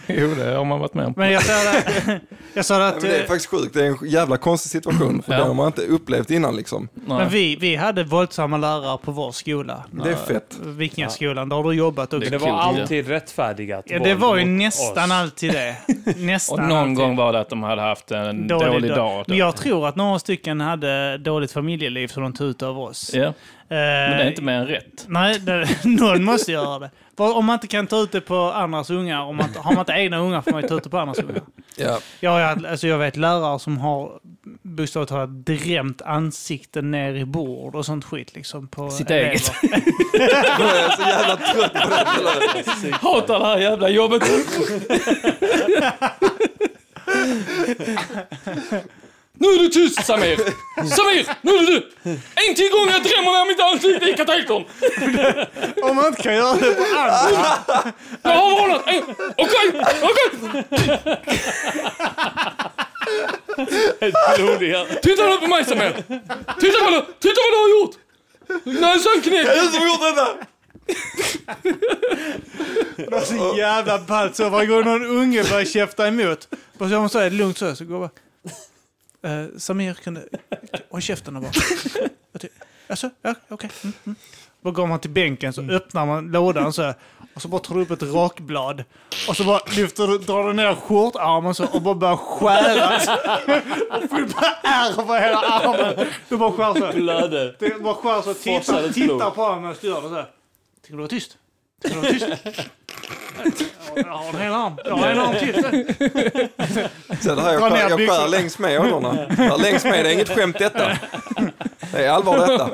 Speaker 3: Jo, det har man varit med om.
Speaker 2: Men jag sa det,
Speaker 3: [laughs]
Speaker 2: jag sa det
Speaker 4: Men
Speaker 2: att...
Speaker 4: det är
Speaker 2: eh,
Speaker 4: faktiskt sjukt, det är en jävla konstig situation. För
Speaker 3: Ja.
Speaker 4: Det har man inte upplevt innan liksom.
Speaker 2: Men
Speaker 3: Nej.
Speaker 2: vi, vi hade våldsamma lärare på vår skola.
Speaker 4: Det är fett.
Speaker 2: Vikingaskolan, där har du jobbat också.
Speaker 1: Det var alltid rättfärdigat
Speaker 2: Ja, det var ju
Speaker 1: våld mot
Speaker 2: nästan
Speaker 1: oss.
Speaker 2: alltid det. Nästan
Speaker 3: [laughs] Och någon
Speaker 2: alltid.
Speaker 3: gång var det att de hade haft en dålig, dag.
Speaker 2: Men jag tror att några stycken hade dåligt familjeliv som de tog ut över oss.
Speaker 3: Ja, men det är inte
Speaker 2: Eh,
Speaker 3: mer än rätt.
Speaker 2: Nej, det, [laughs] någon måste göra det. För om man inte kan ta ut det på andras ungar, om man, inte- har man inte egna ungar får man ju ta ut det på andras ungar.
Speaker 4: Ja.
Speaker 2: Jag, har haft- alltså jag vet lärare som har bokstavligt talat drämt ansikten ner i bord och sånt skit. Liksom, på
Speaker 3: Sitt
Speaker 2: elever.
Speaker 3: eget. [laughs]
Speaker 4: Jag är så jävla trött på det. här.
Speaker 3: Hatar det här jävla jobbet! nu är du tyst Samir! Samir, nu är du En till gång jag drämmer ner mitt ansikte i katetern!
Speaker 2: Om man inte kan göra det på andra.
Speaker 3: [laughs] Jag har varnat! Eh, Okej, okej!
Speaker 1: Blodiga.
Speaker 3: Titta nu på mig Samir! Titta vad du, titta vad du har gjort! Nej, sån knäck!
Speaker 4: Det är du som har gjort detta!
Speaker 2: Det var så jävla ballt så. Varje gång någon unge börjar käfta emot. Bara så hon säger lugnt så, så går jag bara... Eh, Samir, kan du... Håll käften och bara... Jag ty- Alltså, ja, okej. Mm, mm. Då går man till bänken så öppnar man lådan så här, och så bara tar du upp ett rakblad och så bara lyfter du, drar du ner skjortarmen så och bara börjar skära. så. och får du bara ärr på hela armen. Du bara skär så. här.
Speaker 1: Blöder.
Speaker 2: Det är bara skär så
Speaker 1: Forsar
Speaker 2: tittar,
Speaker 1: ett
Speaker 2: tittar på honom medan du gör det så här. Ska du vara tyst? Ska du vara tyst? Jag har en hel arm. Jag har en arm till.
Speaker 4: Sen här, jag,
Speaker 2: Dra ner
Speaker 4: skär, jag skär
Speaker 2: byxorna.
Speaker 4: längs med ådrorna. Skär Längs med, det är inget skämt detta. Det är allvar detta.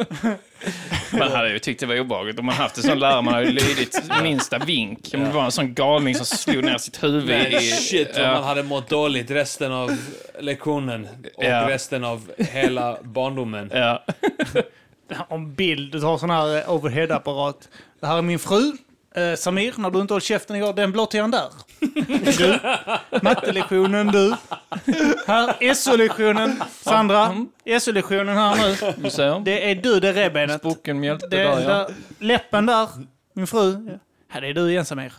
Speaker 5: Man hade ju tyckt det var obehagligt om man haft en sån lärare. Man hade ju lydit minsta vink. Om det var en sån galning som slog ner sitt huvud i...
Speaker 1: Shit vad
Speaker 5: Ja.
Speaker 1: man hade mått dåligt resten av lektionen och
Speaker 5: Ja.
Speaker 1: resten av hela barndomen.
Speaker 5: Ja.
Speaker 2: Om bild. Du tar sån här eh, overhead-apparat. Det här är min fru. Eh, Samir, när du inte höll käften igår, den blåttian där. Du. Mattelektionen, du. Här, SO-lektionen. Sandra, SO-lektionen här nu.
Speaker 5: Du ser.
Speaker 2: Det är du, det är revbenet.
Speaker 5: Boken mjälte
Speaker 2: Det,
Speaker 5: där, ja.
Speaker 2: där, läppen där, min fru. Ja. Här, det är du igen Samir.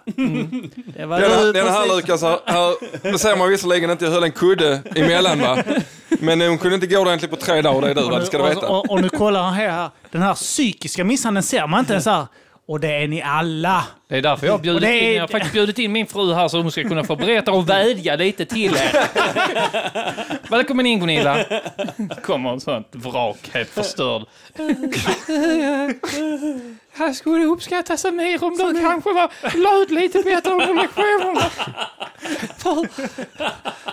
Speaker 2: Det var
Speaker 4: Denna,
Speaker 2: du
Speaker 4: denna
Speaker 2: precis.
Speaker 4: här Lukas, här, här nu ser man visserligen inte jag höll en kudde emellan va. Men hon kunde inte gå ordentligt på tre dagar, det är du va, det ska du
Speaker 2: och,
Speaker 4: veta.
Speaker 2: och, och nu kollar han här, här. Den här psykiska misshandeln ser man inte ens här. Och det är ni alla.
Speaker 5: Det är därför jag har bjudit
Speaker 2: Och det är-
Speaker 5: in, jag har faktiskt bjudit in min fru här så hon ska kunna få berätta och vädja lite till er. [laughs] Välkommen in Gunilla. Kommer en sån vrak, helt förstörd. Jag skulle uppskatta Samir om du kanske var löd lite bättre under lektionerna. För,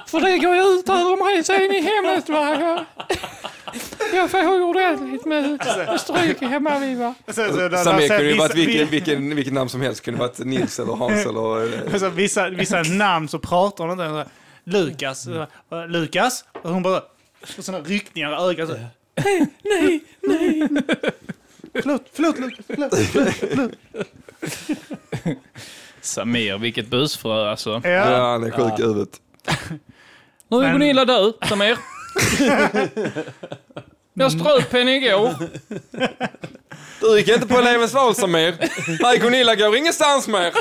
Speaker 5: för det går ju ut över mig sen i hemmet. Va? Jag, jag får ju ordentligt med, med stryk hemma vid. Va?
Speaker 2: Alltså,
Speaker 4: Samir kunde ju varit vilken, vilken, vilken namn som helst, kunde varit Nils eller Hans eller... eh,
Speaker 2: Alltså, vissa,
Speaker 4: [laughs]
Speaker 2: vissa namn så pratar hon inte ens. Lukas.
Speaker 4: Mm.
Speaker 2: eh, Lukas. Och hon bara... Och sådana ryckningar i ögat. Så. Nej, nej, nej. Förlåt, förlåt Lukas. Förlåt, förlåt, förlåt.
Speaker 5: Samir, vilket busfrö alltså.
Speaker 2: [laughs]
Speaker 5: [clears throat]
Speaker 2: Ja.
Speaker 4: Ja, han är sjuk i huvudet.
Speaker 5: Nu är
Speaker 2: Men-
Speaker 5: Gunilla död, Samir. Jag ströp henne igår.
Speaker 4: Du gick inte på elevens val Samir. Nej, Gunilla går ingenstans mer.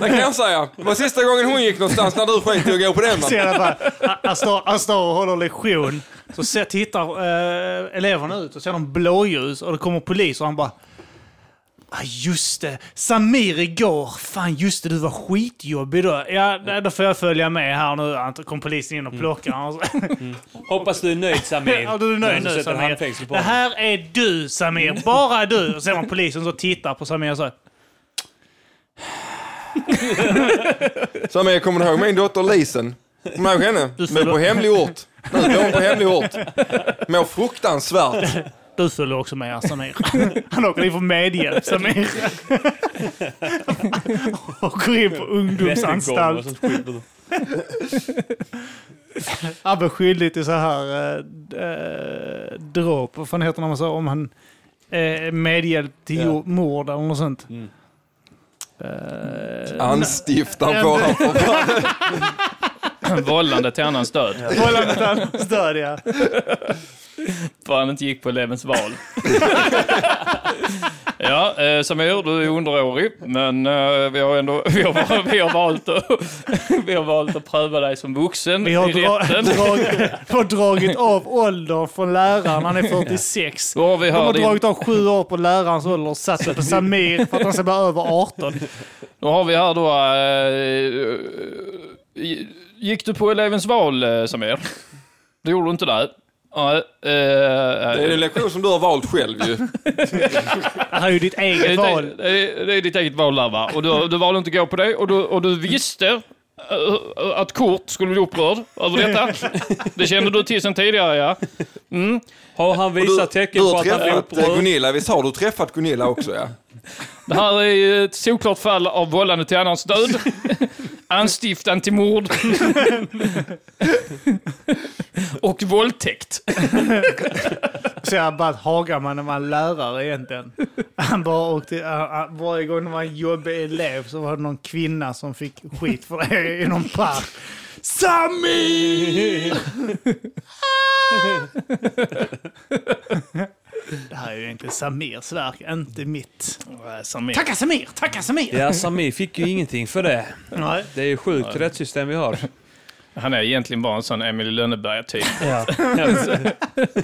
Speaker 4: Det kan jag säga. Det var sista gången hon gick någonstans när du sket i att gå på den. va?
Speaker 2: Ser jag bara, han står- Han står och håller lektion. Så ser, tittar eh, eleverna ut och ser de blåljus och det kommer polis och han bara... Ah, just det, Samir igår. Fan just det, du var skitjobbig då. Ja, nej, då får jag följa med här nu. Han kom polisen in och
Speaker 4: Mm.
Speaker 2: plockar honom.
Speaker 1: Hoppas du är nöjd Samir.
Speaker 2: Ja, du är nöjd Mm.
Speaker 1: När
Speaker 2: nu
Speaker 1: sätter handfängsel
Speaker 2: Samir.
Speaker 1: på
Speaker 2: Det
Speaker 1: honom.
Speaker 2: här är du Samir, bara du. Och ser man polisen så tittar på Samir och så.
Speaker 4: Samir, kommer du ihåg min dotter Lisen? Kommer du ihåg henne? Men på hemlig ort. Nu bor hon på hemlig ort. Mår fruktansvärt.
Speaker 2: Du följer också med här, [laughs] Samir. Han åker in för medhjälp [laughs] Samir. Åker in på
Speaker 1: Rättegång och
Speaker 2: ungdomsanstalt.
Speaker 1: sånt skit.
Speaker 2: Han blir skyldig till så här eh, d- eh, dråp. Vad fan heter det när man sa om han eh, medhjälp till
Speaker 1: Ja.
Speaker 2: yeah. mord eller något sånt.
Speaker 1: Mm.
Speaker 2: Eh, [laughs]
Speaker 4: Anstiftan på honom för fan.
Speaker 5: Vållande till annans död.
Speaker 2: Vållande till annans död ja.
Speaker 5: För han inte gick på elevens val. [laughs] Ja, eh, Samir, du är underårig, men eh, vi har ändå vi har, vi har, valt, att, [laughs] vi har valt att pröva dig som vuxen
Speaker 2: Vi har,
Speaker 5: i
Speaker 2: dra-
Speaker 5: rätten.
Speaker 2: drag- har dragit av åldern från läraren, han är 46.
Speaker 5: Då har vi
Speaker 2: De har
Speaker 5: här din,
Speaker 2: dragit av sju år på lärarens ålder och satt det på Samir för att han ska vara över 18.
Speaker 5: då, har vi här då eh, eh, gick du på elevens val, eh, Samir? Det gjorde du inte där. Nej, eh,
Speaker 4: Det är en lektion som du har valt själv ju.
Speaker 2: Det här är ju ditt
Speaker 5: Det är
Speaker 2: eget
Speaker 5: ditt
Speaker 2: val.
Speaker 5: eget- Det är, det är ditt eget val där va? Och du, du valde inte att gå på det och du, och du visste eh, att Kurt skulle bli upprörd över detta. Det kände du till sen tidigare ja. Mm.
Speaker 1: Har han
Speaker 4: Du,
Speaker 1: visat
Speaker 4: du
Speaker 1: tecken på
Speaker 4: har
Speaker 1: att han är
Speaker 4: träffat eh,
Speaker 1: upprörd?
Speaker 4: Gunilla, visst har du träffat Gunilla också ja?
Speaker 5: Det här är ju ett solklart fall av vållande till annans död. Anstiftan till mord. och våldtäkt.
Speaker 2: Så jag bara att Hagamannen var en lärare egentligen. Han bara åkte, han- han- varje gång det var en jobbig elev så var det någon kvinna som fick skit för det i någon park. Samir! Det här är ju egentligen Samirs verk, inte mitt.
Speaker 5: Samir.
Speaker 2: Tacka Samir! Tacka Samir!
Speaker 1: Ja, Samir fick ju ingenting för det.
Speaker 2: Nej.
Speaker 1: Det är ju sjukt rättssystem vi har.
Speaker 5: Han är egentligen bara en sån Emil Lönneberga-typ.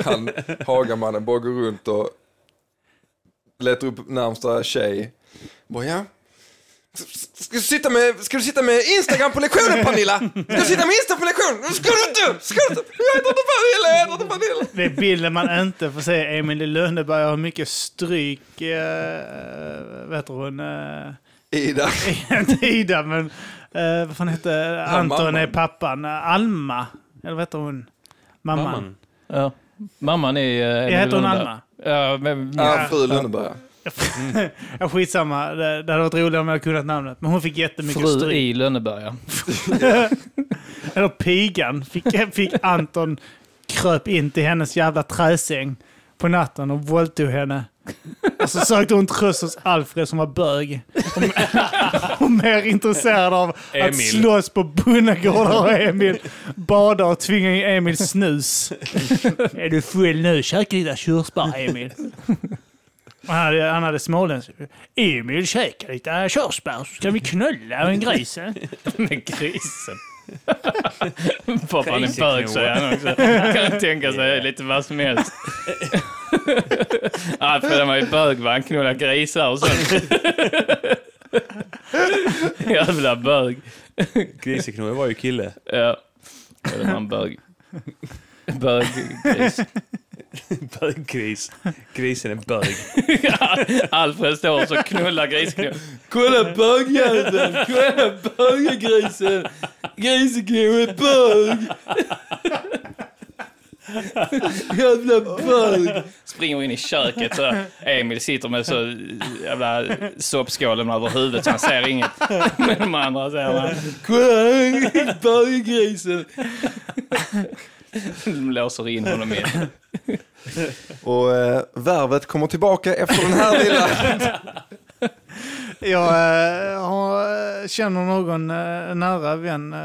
Speaker 4: Han, Hagamannen, bara går runt och letar upp närmsta tjej. Bara, ja. S- Ska du, sitta med, ska du sitta med Instagram på lektionen Pernilla? Ska du sitta med Insta på lektionen? Ska du inte? Ska du inte? Jag heter inte Pernilla, jag heter inte Pernilla.
Speaker 2: Det är bilden man inte får se. Emil i Lönneberg har mycket stryk eh, vet hon, eh,
Speaker 4: Ida.
Speaker 2: [laughs] inte Ida, men eh, vad fan hette Anton är
Speaker 4: mamman.
Speaker 2: pappan. Eh, Alma, eller vad heter hon? Mamman.
Speaker 1: Mamman.
Speaker 7: Ja. Mamman är... eh,
Speaker 2: Jag heter hon
Speaker 7: Lundberg.
Speaker 2: Alma.
Speaker 7: Ja, men,
Speaker 4: Ja, fru Lönneberga.
Speaker 2: Ja, skitsamma, det, det hade varit roligare om jag hade kunnat namnet. Men hon fick jättemycket
Speaker 7: Fru
Speaker 2: stryk.
Speaker 7: i
Speaker 5: [laughs]
Speaker 7: Lönneberga.
Speaker 2: Eller pigan. Fick, fick Anton kröp in till hennes jävla träsäng på natten och våldtog henne. Och så sökte hon tröst hos Alfred som var bög. [laughs] Och, och mer intresserad av
Speaker 1: Emil.
Speaker 2: att slåss på bondagårdar och Emil bada och tvinga in Emil snus. Är du full nu? Käka lite körsbär Emil. Han hade, han hade småländsk. Emil, käka lite körsbär så ska vi knulla en gris. eh?
Speaker 3: Med [laughs] grisen. Pappa han är bög säger han också. Kan tänka sig lite vad som helst. [laughs] Alfred han var ju bög va, han knullade grisar och
Speaker 5: [laughs]
Speaker 3: sånt. [laughs] Jävla bög.
Speaker 1: Griseknoe var ju kille.
Speaker 3: Ja. Eller han bög. Böggris.
Speaker 1: Böggris. Grisen är bög.
Speaker 3: [laughs] Alfred står och så knullar grisknö. Kolla bögjäveln! Kolla bögegrisen! Griseknö är bög! Jävla bög! Springer in i köket så här. Emil sitter med så jävla soppskålen över huvudet så han ser inget. Men de andra ser man. Kolla böggrisen! De låser in honom i
Speaker 4: Och eh, värvet kommer tillbaka efter den här lilla...
Speaker 2: Jag eh, har, känner någon eh, nära vän eh,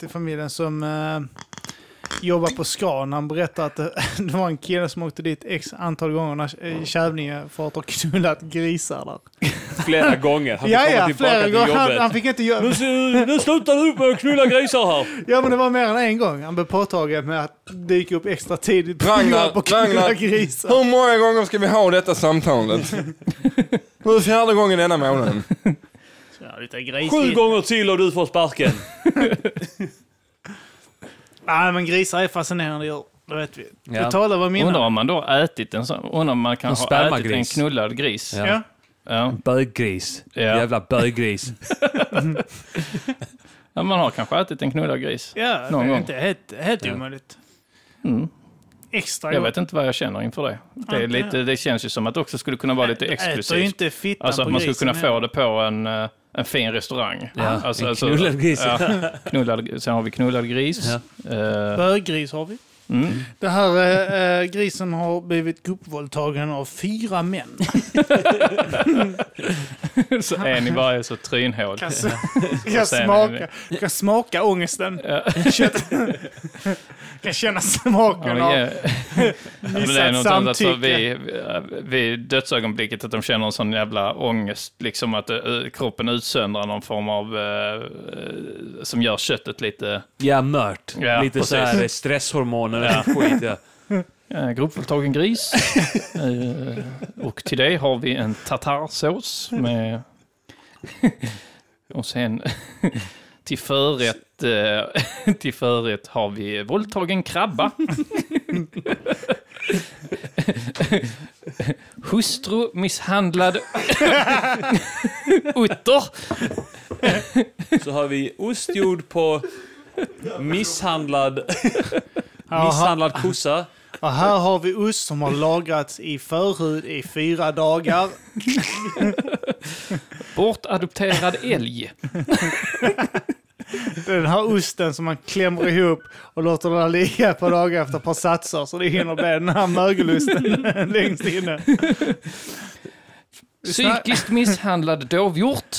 Speaker 2: till familjen som eh, jobbar på Scan. Han berättar att det, [laughs] det var en kille som åkte dit x antal gånger när eh, Kävlinge för att ha knullat grisar där.
Speaker 1: [laughs] Flera gånger. Han
Speaker 2: Ja, ja, flera gånger. Han, han fick inte göra...
Speaker 1: Nu, nu slutar du med att knulla grisar här.
Speaker 2: [laughs] Ja, men det var mer än en gång. Han blev påtagen med att dyka upp extra tidigt på
Speaker 4: Ragnar,
Speaker 2: jobb och knulla
Speaker 4: Ragnar.
Speaker 2: grisar.
Speaker 4: [laughs] Hur många gånger ska vi ha detta [laughs] samtalet? Nu är fjärde gången denna månaden.
Speaker 1: Sju gånger till och du får sparken.
Speaker 2: Nej, men grisar är fascinerande djur. Det vet vi.
Speaker 1: Ja.
Speaker 2: Du talade om
Speaker 3: Undrar
Speaker 2: innan.
Speaker 3: om man då har ätit en sån, undrar om man kan
Speaker 1: En
Speaker 3: ha ätit en
Speaker 1: spermagris.
Speaker 3: knullad gris. Ja.
Speaker 2: Ja.
Speaker 3: Ja.
Speaker 1: Böggris.
Speaker 3: Ja.
Speaker 1: Jävla böggris.
Speaker 3: man har kanske ätit en knullad gris.
Speaker 2: Ja,
Speaker 3: Någon
Speaker 2: det är
Speaker 3: gång.
Speaker 2: inte helt, helt omöjligt.
Speaker 3: Mm.
Speaker 2: Extra
Speaker 3: Jag vet inte vad jag känner inför det. Det, är
Speaker 2: Inte
Speaker 3: lite, det känns ju som att det också skulle kunna vara lite
Speaker 2: Äter ju
Speaker 3: exklusivt.
Speaker 2: inte fittan
Speaker 3: Alltså
Speaker 2: på
Speaker 3: att man skulle kunna
Speaker 2: grisen
Speaker 3: få det på en, eh, en fin restaurang.
Speaker 1: Ja,
Speaker 3: alltså,
Speaker 1: en knullad gris.
Speaker 3: Ja, knullad, sen har vi knullad gris. Eh,
Speaker 2: Böggris har vi.
Speaker 3: mm.
Speaker 2: Det här eh, eh, grisen har blivit gruppvåldtagen av fyra män.
Speaker 3: så en i varje så
Speaker 2: [laughs]
Speaker 3: trynhål.
Speaker 2: Kan, s- kan,
Speaker 3: sen-
Speaker 2: smaka, kan smaka ångesten. Kött. [laughs] kan känna
Speaker 3: Ja,
Speaker 2: smaken
Speaker 3: men,
Speaker 2: av
Speaker 3: ja.
Speaker 2: [laughs]
Speaker 3: Ja, men det är
Speaker 2: missat
Speaker 3: någonstans att så
Speaker 2: samtycke.
Speaker 3: vid, vid dödsögonblicket att de känner en sån jävla ångest, liksom att eh, kroppen utsöndrar någon form av, eh, eh, som gör köttet lite,
Speaker 1: Ja, mört.
Speaker 3: Ja,
Speaker 1: Lite
Speaker 3: precis.
Speaker 1: så här stresshormoner och skit. Ja.
Speaker 3: eh, gruppvåldtagen gris. eh, och till det har vi en tartarsås med, och sen [laughs] till förrätt, eh, till förrätt har vi våldtagen krabba. Hustru misshandlad utter.
Speaker 1: Så har vi ostgjord på misshandlad,
Speaker 2: Jaha.
Speaker 1: misshandlad kossa.
Speaker 2: Och här har vi ost som har lagrats i förhud i fyra dagar.
Speaker 3: Bortadopterad älg.
Speaker 2: Den här osten som man klämmer ihop och låter den ligga på dagar efter ett par satser så det hinner bli den här mögelosten [laughs] längst inne.
Speaker 3: Psykiskt misshandlad dovhjort.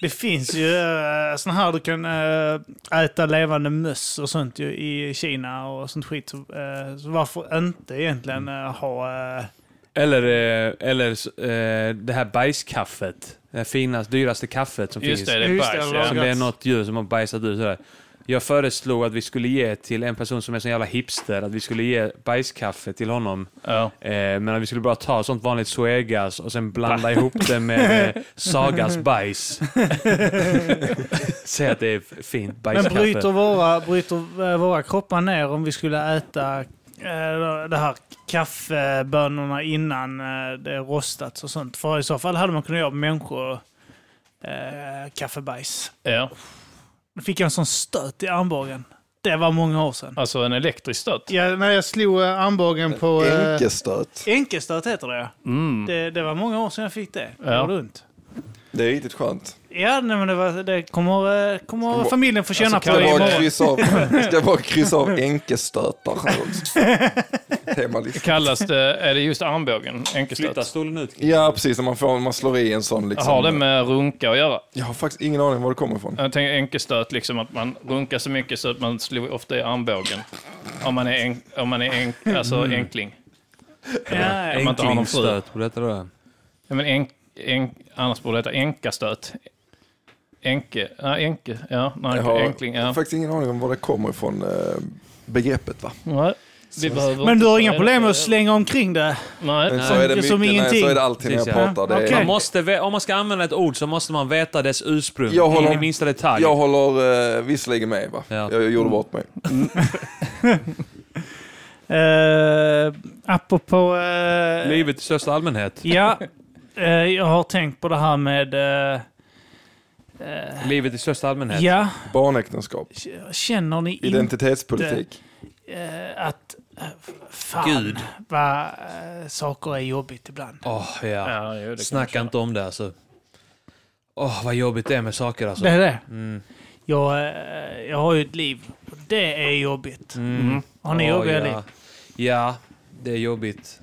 Speaker 2: Det finns ju uh, sån här du kan eh, äta levande möss och sånt ju i Kina och sånt skit. Så, eh, så varför inte egentligen eh, ha... eh,
Speaker 1: Eller, eh, eller eh, det här bajskaffet. Det här finaste, dyraste kaffet som
Speaker 3: Just
Speaker 1: finns.
Speaker 3: det, det är
Speaker 2: Just det,
Speaker 3: bajs.
Speaker 2: det var-
Speaker 3: Ja.
Speaker 1: Som det är något djur som har bajsat ut sådär. Jag föreslog att vi skulle ge till en person som är sån jävla hipster, att vi skulle ge bajskaffe till honom.
Speaker 3: Ja.
Speaker 1: Eh, men att vi skulle bara ta sånt vanligt Zoegas och sen blanda ihop det med eh, Sagas bajs. [laughs] Säg att det är fint
Speaker 2: men
Speaker 1: bajskaffe.
Speaker 2: bryter våra, bryter eh, våra kroppar ner om vi skulle äta eh, det här kaffebönorna innan eh, det rostats och sånt. För i så fall hade man kunnat göra människor eh, kaffebajs.
Speaker 3: Ja.
Speaker 2: Då fick jag en sån stöt i armbågen. Det var många år sedan.
Speaker 3: Alltså en elektrisk stöt.
Speaker 2: Ja, när jag slog eh, armbågen på... eh,
Speaker 4: Enkestöt.
Speaker 2: Enkelstöt heter det, ja.
Speaker 3: Mm.
Speaker 2: det. Det var många år sedan jag fick det. Det
Speaker 3: Ja.
Speaker 2: gjorde ont.
Speaker 4: Det är riktigt skönt.
Speaker 2: Ja, nej, men det, var, det kommer, eh, kommer
Speaker 4: Ska- Alltså,
Speaker 2: familjen få känna
Speaker 4: Ska
Speaker 2: på
Speaker 4: jag bara
Speaker 2: imorgon.
Speaker 4: kryssa av,
Speaker 3: [laughs]
Speaker 4: ska jag bara kryssa av enkestötar här också. liksom. Temalista.
Speaker 3: Kallas det, är det just armbågen? Enkelstöt?
Speaker 1: Flytta stolen ut.
Speaker 4: Ja, precis. När man, får, man slår i en sån liksom.
Speaker 3: Har det med Äh, runka att göra?
Speaker 4: Jag har faktiskt ingen aning var det kommer ifrån.
Speaker 3: Jag tänker enkelstöt, liksom att man runkar så mycket så att man slår ofta i armbågen. Om man är, enk, om man är enk, alltså
Speaker 2: Mm.
Speaker 3: enkling.
Speaker 2: Ja, ja.
Speaker 3: man inte har någon fru.
Speaker 1: Enklingstöt på detta då.
Speaker 3: Ja, men enk, enk, annars borde det heta enkastöt. Enke, ja, enke, ja, nej,
Speaker 4: Jag har
Speaker 3: enkling, ja.
Speaker 4: faktiskt ingen aning om var det kommer ifrån eh, begreppet va?
Speaker 3: Nej, vi behöver
Speaker 2: Men
Speaker 3: inte
Speaker 2: du har
Speaker 3: ta
Speaker 2: inga
Speaker 3: reda
Speaker 2: problem
Speaker 3: på
Speaker 2: med
Speaker 3: det.
Speaker 2: att slänga omkring det?
Speaker 3: Nej,
Speaker 4: Så är det
Speaker 2: Som
Speaker 4: mycket, nej,
Speaker 2: ingenting.
Speaker 4: så är det alltid när jag
Speaker 1: Precis, ja.
Speaker 4: pratar. Det är,
Speaker 2: Okej.
Speaker 1: Man måste, vä- om man ska använda ett ord så måste man veta dess ursprung.
Speaker 4: Jag håller-
Speaker 1: in i minsta detalj.
Speaker 4: Jag håller eh, visserligen med va?
Speaker 1: Ja.
Speaker 4: Jag, jag gjorde bort mig.
Speaker 2: Uh, apropå... eh,
Speaker 1: Livet i största allmänhet.
Speaker 2: Ja, eh, jag har tänkt på det här med... eh,
Speaker 1: Livet i största allmänhet.
Speaker 2: ja,
Speaker 4: Barnäktenskap,
Speaker 2: k- känner ni inte
Speaker 4: identitetspolitik.
Speaker 2: att... eh, fan
Speaker 1: Gud.
Speaker 2: vad eh, saker är jobbigt ibland.
Speaker 1: Åh, ja.
Speaker 3: ja, jo, det kan
Speaker 1: Snacka
Speaker 3: jag
Speaker 1: inte om det alltså. Åh, vad jobbigt det är med saker alltså.
Speaker 2: Det är det.
Speaker 1: Mm.
Speaker 2: Jag, eh, jag har ju ett liv. Det är jobbigt.
Speaker 1: Mm.
Speaker 2: Har ni
Speaker 1: Åh,
Speaker 2: jobbiga liv?
Speaker 1: ja. ja, det är jobbigt.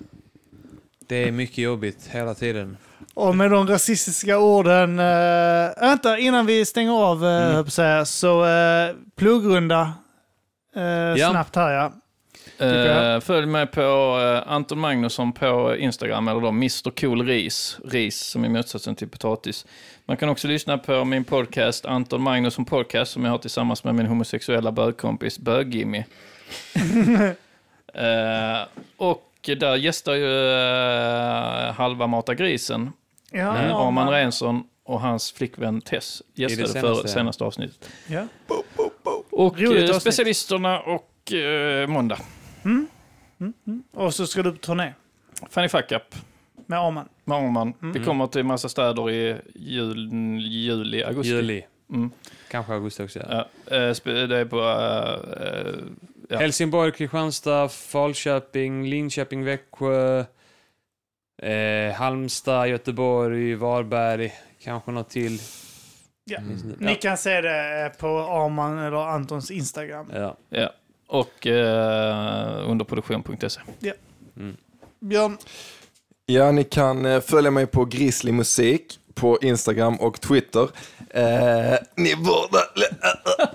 Speaker 1: Det är mycket jobbigt hela tiden.
Speaker 2: Och med de rasistiska orden... eh, vänta, innan vi stänger av eh, höll jag på att säga, så eh, pluggrunda eh, snabbt här ja.
Speaker 3: Eh, följ mig på eh, Anton Magnusson på Instagram, eller då Mr Cool Ris, ris som är motsatsen till potatis. Man kan också lyssna på min podcast Anton Magnusson Podcast som jag har tillsammans med min homosexuella bögkompis Bög-Jimmy.
Speaker 2: [laughs]
Speaker 3: eh, och där gästar ju eh, Halva Mata Grisen,
Speaker 2: Ja,
Speaker 3: eh,
Speaker 2: ja,
Speaker 3: Arman Rensson och hans flickvän Tess
Speaker 1: I
Speaker 3: gästade
Speaker 1: det
Speaker 3: senaste, för
Speaker 1: senaste, ja.
Speaker 3: senaste avsnittet.
Speaker 2: ja.
Speaker 3: Och
Speaker 2: Roligt
Speaker 3: eh,
Speaker 2: avsnitt.
Speaker 3: specialisterna och eh, Måndag.
Speaker 2: Mm. Och så ska du på turné
Speaker 3: Fanny Fuck Up.
Speaker 2: med Arman.
Speaker 3: Mångman.
Speaker 1: Mm.
Speaker 3: Vi kommer till massa städer i jul, juli, augusti.
Speaker 1: Juli.
Speaker 3: Mm.
Speaker 1: Kanske augusti också. Ja.
Speaker 3: Ja, eh, sp- det är på... eh, eh, Ja.
Speaker 1: Helsingborg, Kristianstad, Falköping, Linköping, Växjö, eh, Halmstad, Göteborg, Varberg, kanske något till.
Speaker 2: Ja.
Speaker 1: Mm.
Speaker 2: Ni kan se det eh, på Arman eller Antons Instagram.
Speaker 1: Ja.
Speaker 3: ja. Och eh, underproduktion.se.
Speaker 2: Björn,
Speaker 4: Ja, ni kan eh, följa mig på Grizzly Musik på Instagram och Twitter. Eh, ni borde...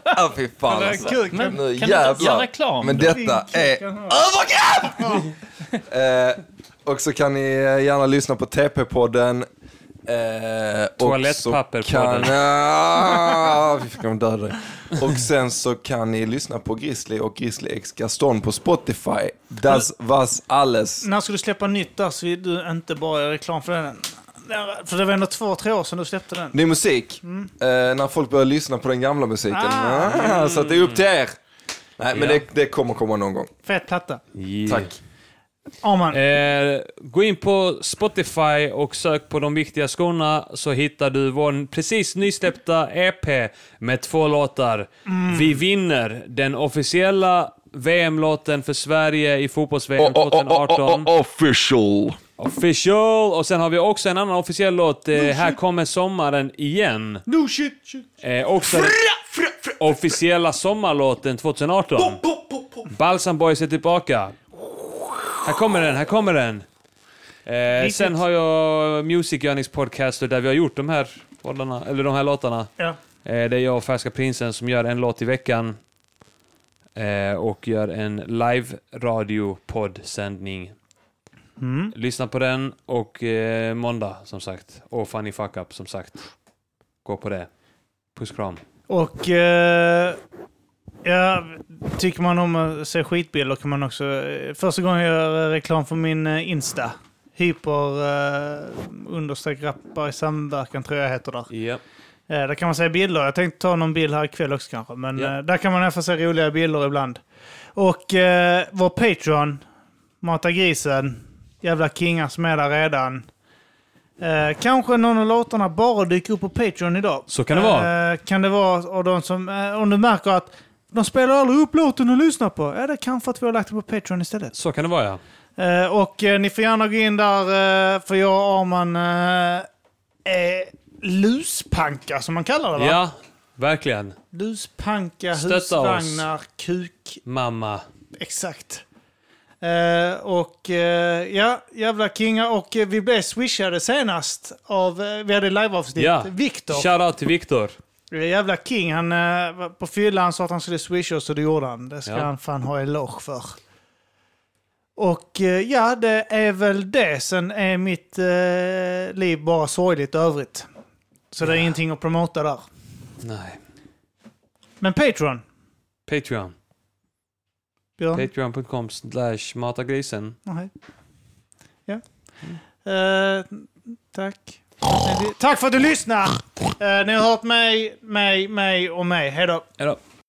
Speaker 4: Ah, fy fan alltså.
Speaker 2: kuken.
Speaker 3: Men
Speaker 4: Nu
Speaker 3: kan du inte göra
Speaker 4: jävlar.
Speaker 3: reklam?
Speaker 4: Men detta är övergrepp! eh, och så kan ni eh, gärna lyssna på TP-podden. Eh, och
Speaker 1: Toalettpapperpodden.
Speaker 4: så Kan, ah, vi fick dem döda dig. Och sen så kan ni lyssna på Grizzly och Grizzly X Gaston på Spotify. Das was alles.
Speaker 2: När ska du släppa nytt där så vill du inte bara göra reklam för den? än? För det var ändå två, tre år sedan du släppte den.
Speaker 4: Ny musik. Eh, när folk börjar lyssna på den gamla musiken. Ah, så att det är upp till er. Nej, men
Speaker 1: Ja.
Speaker 4: det, det kommer komma någon gång.
Speaker 2: Fet platta.
Speaker 1: Yeah.
Speaker 4: Tack.
Speaker 2: Arman,
Speaker 1: Eh, gå in på Spotify och sök på de viktiga skorna så hittar du vår precis nysläppta EP med två låtar.
Speaker 2: Mm.
Speaker 1: Vi vinner den officiella VM-låten för Sverige i fotbolls-VM 2018.
Speaker 4: official.
Speaker 1: Official! Och sen har vi också en annan officiell låt. Eh, här kommer sommaren igen.
Speaker 2: no shit! shit.
Speaker 1: Eh, också den officiella sommarlåten 2018. Balsam Boys är tillbaka. Här kommer den, här kommer den. Eh,
Speaker 2: Riktigt.
Speaker 1: sen har jag Music Yearnings podcast där vi har gjort de här, poddarna, eller de här låtarna.
Speaker 2: Ja.
Speaker 1: Eh, det är jag och Färska Prinsen som gör en låt i veckan. Eh, och gör en live radiopoddsändning.
Speaker 2: Mm.
Speaker 1: Lyssna på den och eh, måndag som sagt. Och Funny Fuck Up som sagt. Gå på det. Puss kram.
Speaker 2: Och... eh, ja, tycker man om att se skitbilder kan man också... eh, första gången jag gör eh, reklam för min eh, Insta. Hyper eh, understreck rappar i samverkan tror jag heter där.
Speaker 1: Ja.
Speaker 2: Eh, där kan man se bilder. Jag tänkte ta någon bild här ikväll också kanske. Men
Speaker 1: Ja.
Speaker 2: eh, där kan man i alla fall se roliga bilder ibland. Och eh, vår Patreon, Mata grisen, jävla kingar som är där redan. Eh, kanske någon av låtarna bara dyker upp på Patreon idag.
Speaker 1: Så kan det vara.
Speaker 2: Eh, kan det vara och de som, eh, om du märker att de spelar aldrig upp låten du lyssnar på. Ja, det är kanske att vi har lagt det på Patreon istället.
Speaker 1: Så kan det vara ja.
Speaker 2: Eh, och eh, ni får gärna gå in där, eh, för jag och Arman eh, är luspanka som man kallar det va?
Speaker 1: Ja, verkligen.
Speaker 2: Luspanka,
Speaker 1: Stötta oss.
Speaker 2: husvagnar, kuk.
Speaker 1: Mamma.
Speaker 2: Exakt. Eh, och eh, ja, jävla kingar. Och eh, vi blev swishade senast av, eh, vi hade liveavsnitt,
Speaker 1: Ja.
Speaker 2: Viktor.
Speaker 1: Shoutout till Viktor.
Speaker 2: Eh, Jävla king. Han, eh, var på fyllan sa att han skulle swisha oss och det gjorde han. Det ska
Speaker 1: Ja.
Speaker 2: han fan ha eloge för. Och eh, ja, det är väl det. Sen är mitt eh, liv bara sorgligt i övrigt. Så det är ingenting att promota där.
Speaker 1: Nej.
Speaker 2: Men Patreon,
Speaker 1: Patreon.
Speaker 2: Björn?
Speaker 1: Patreon.com slash matagrisen.
Speaker 2: Nej. Ja. Eh, tack. Tack för att du lyssnar! Eh, ni har hört mig, mig, mig och mig. Hej då.
Speaker 1: Hejdå.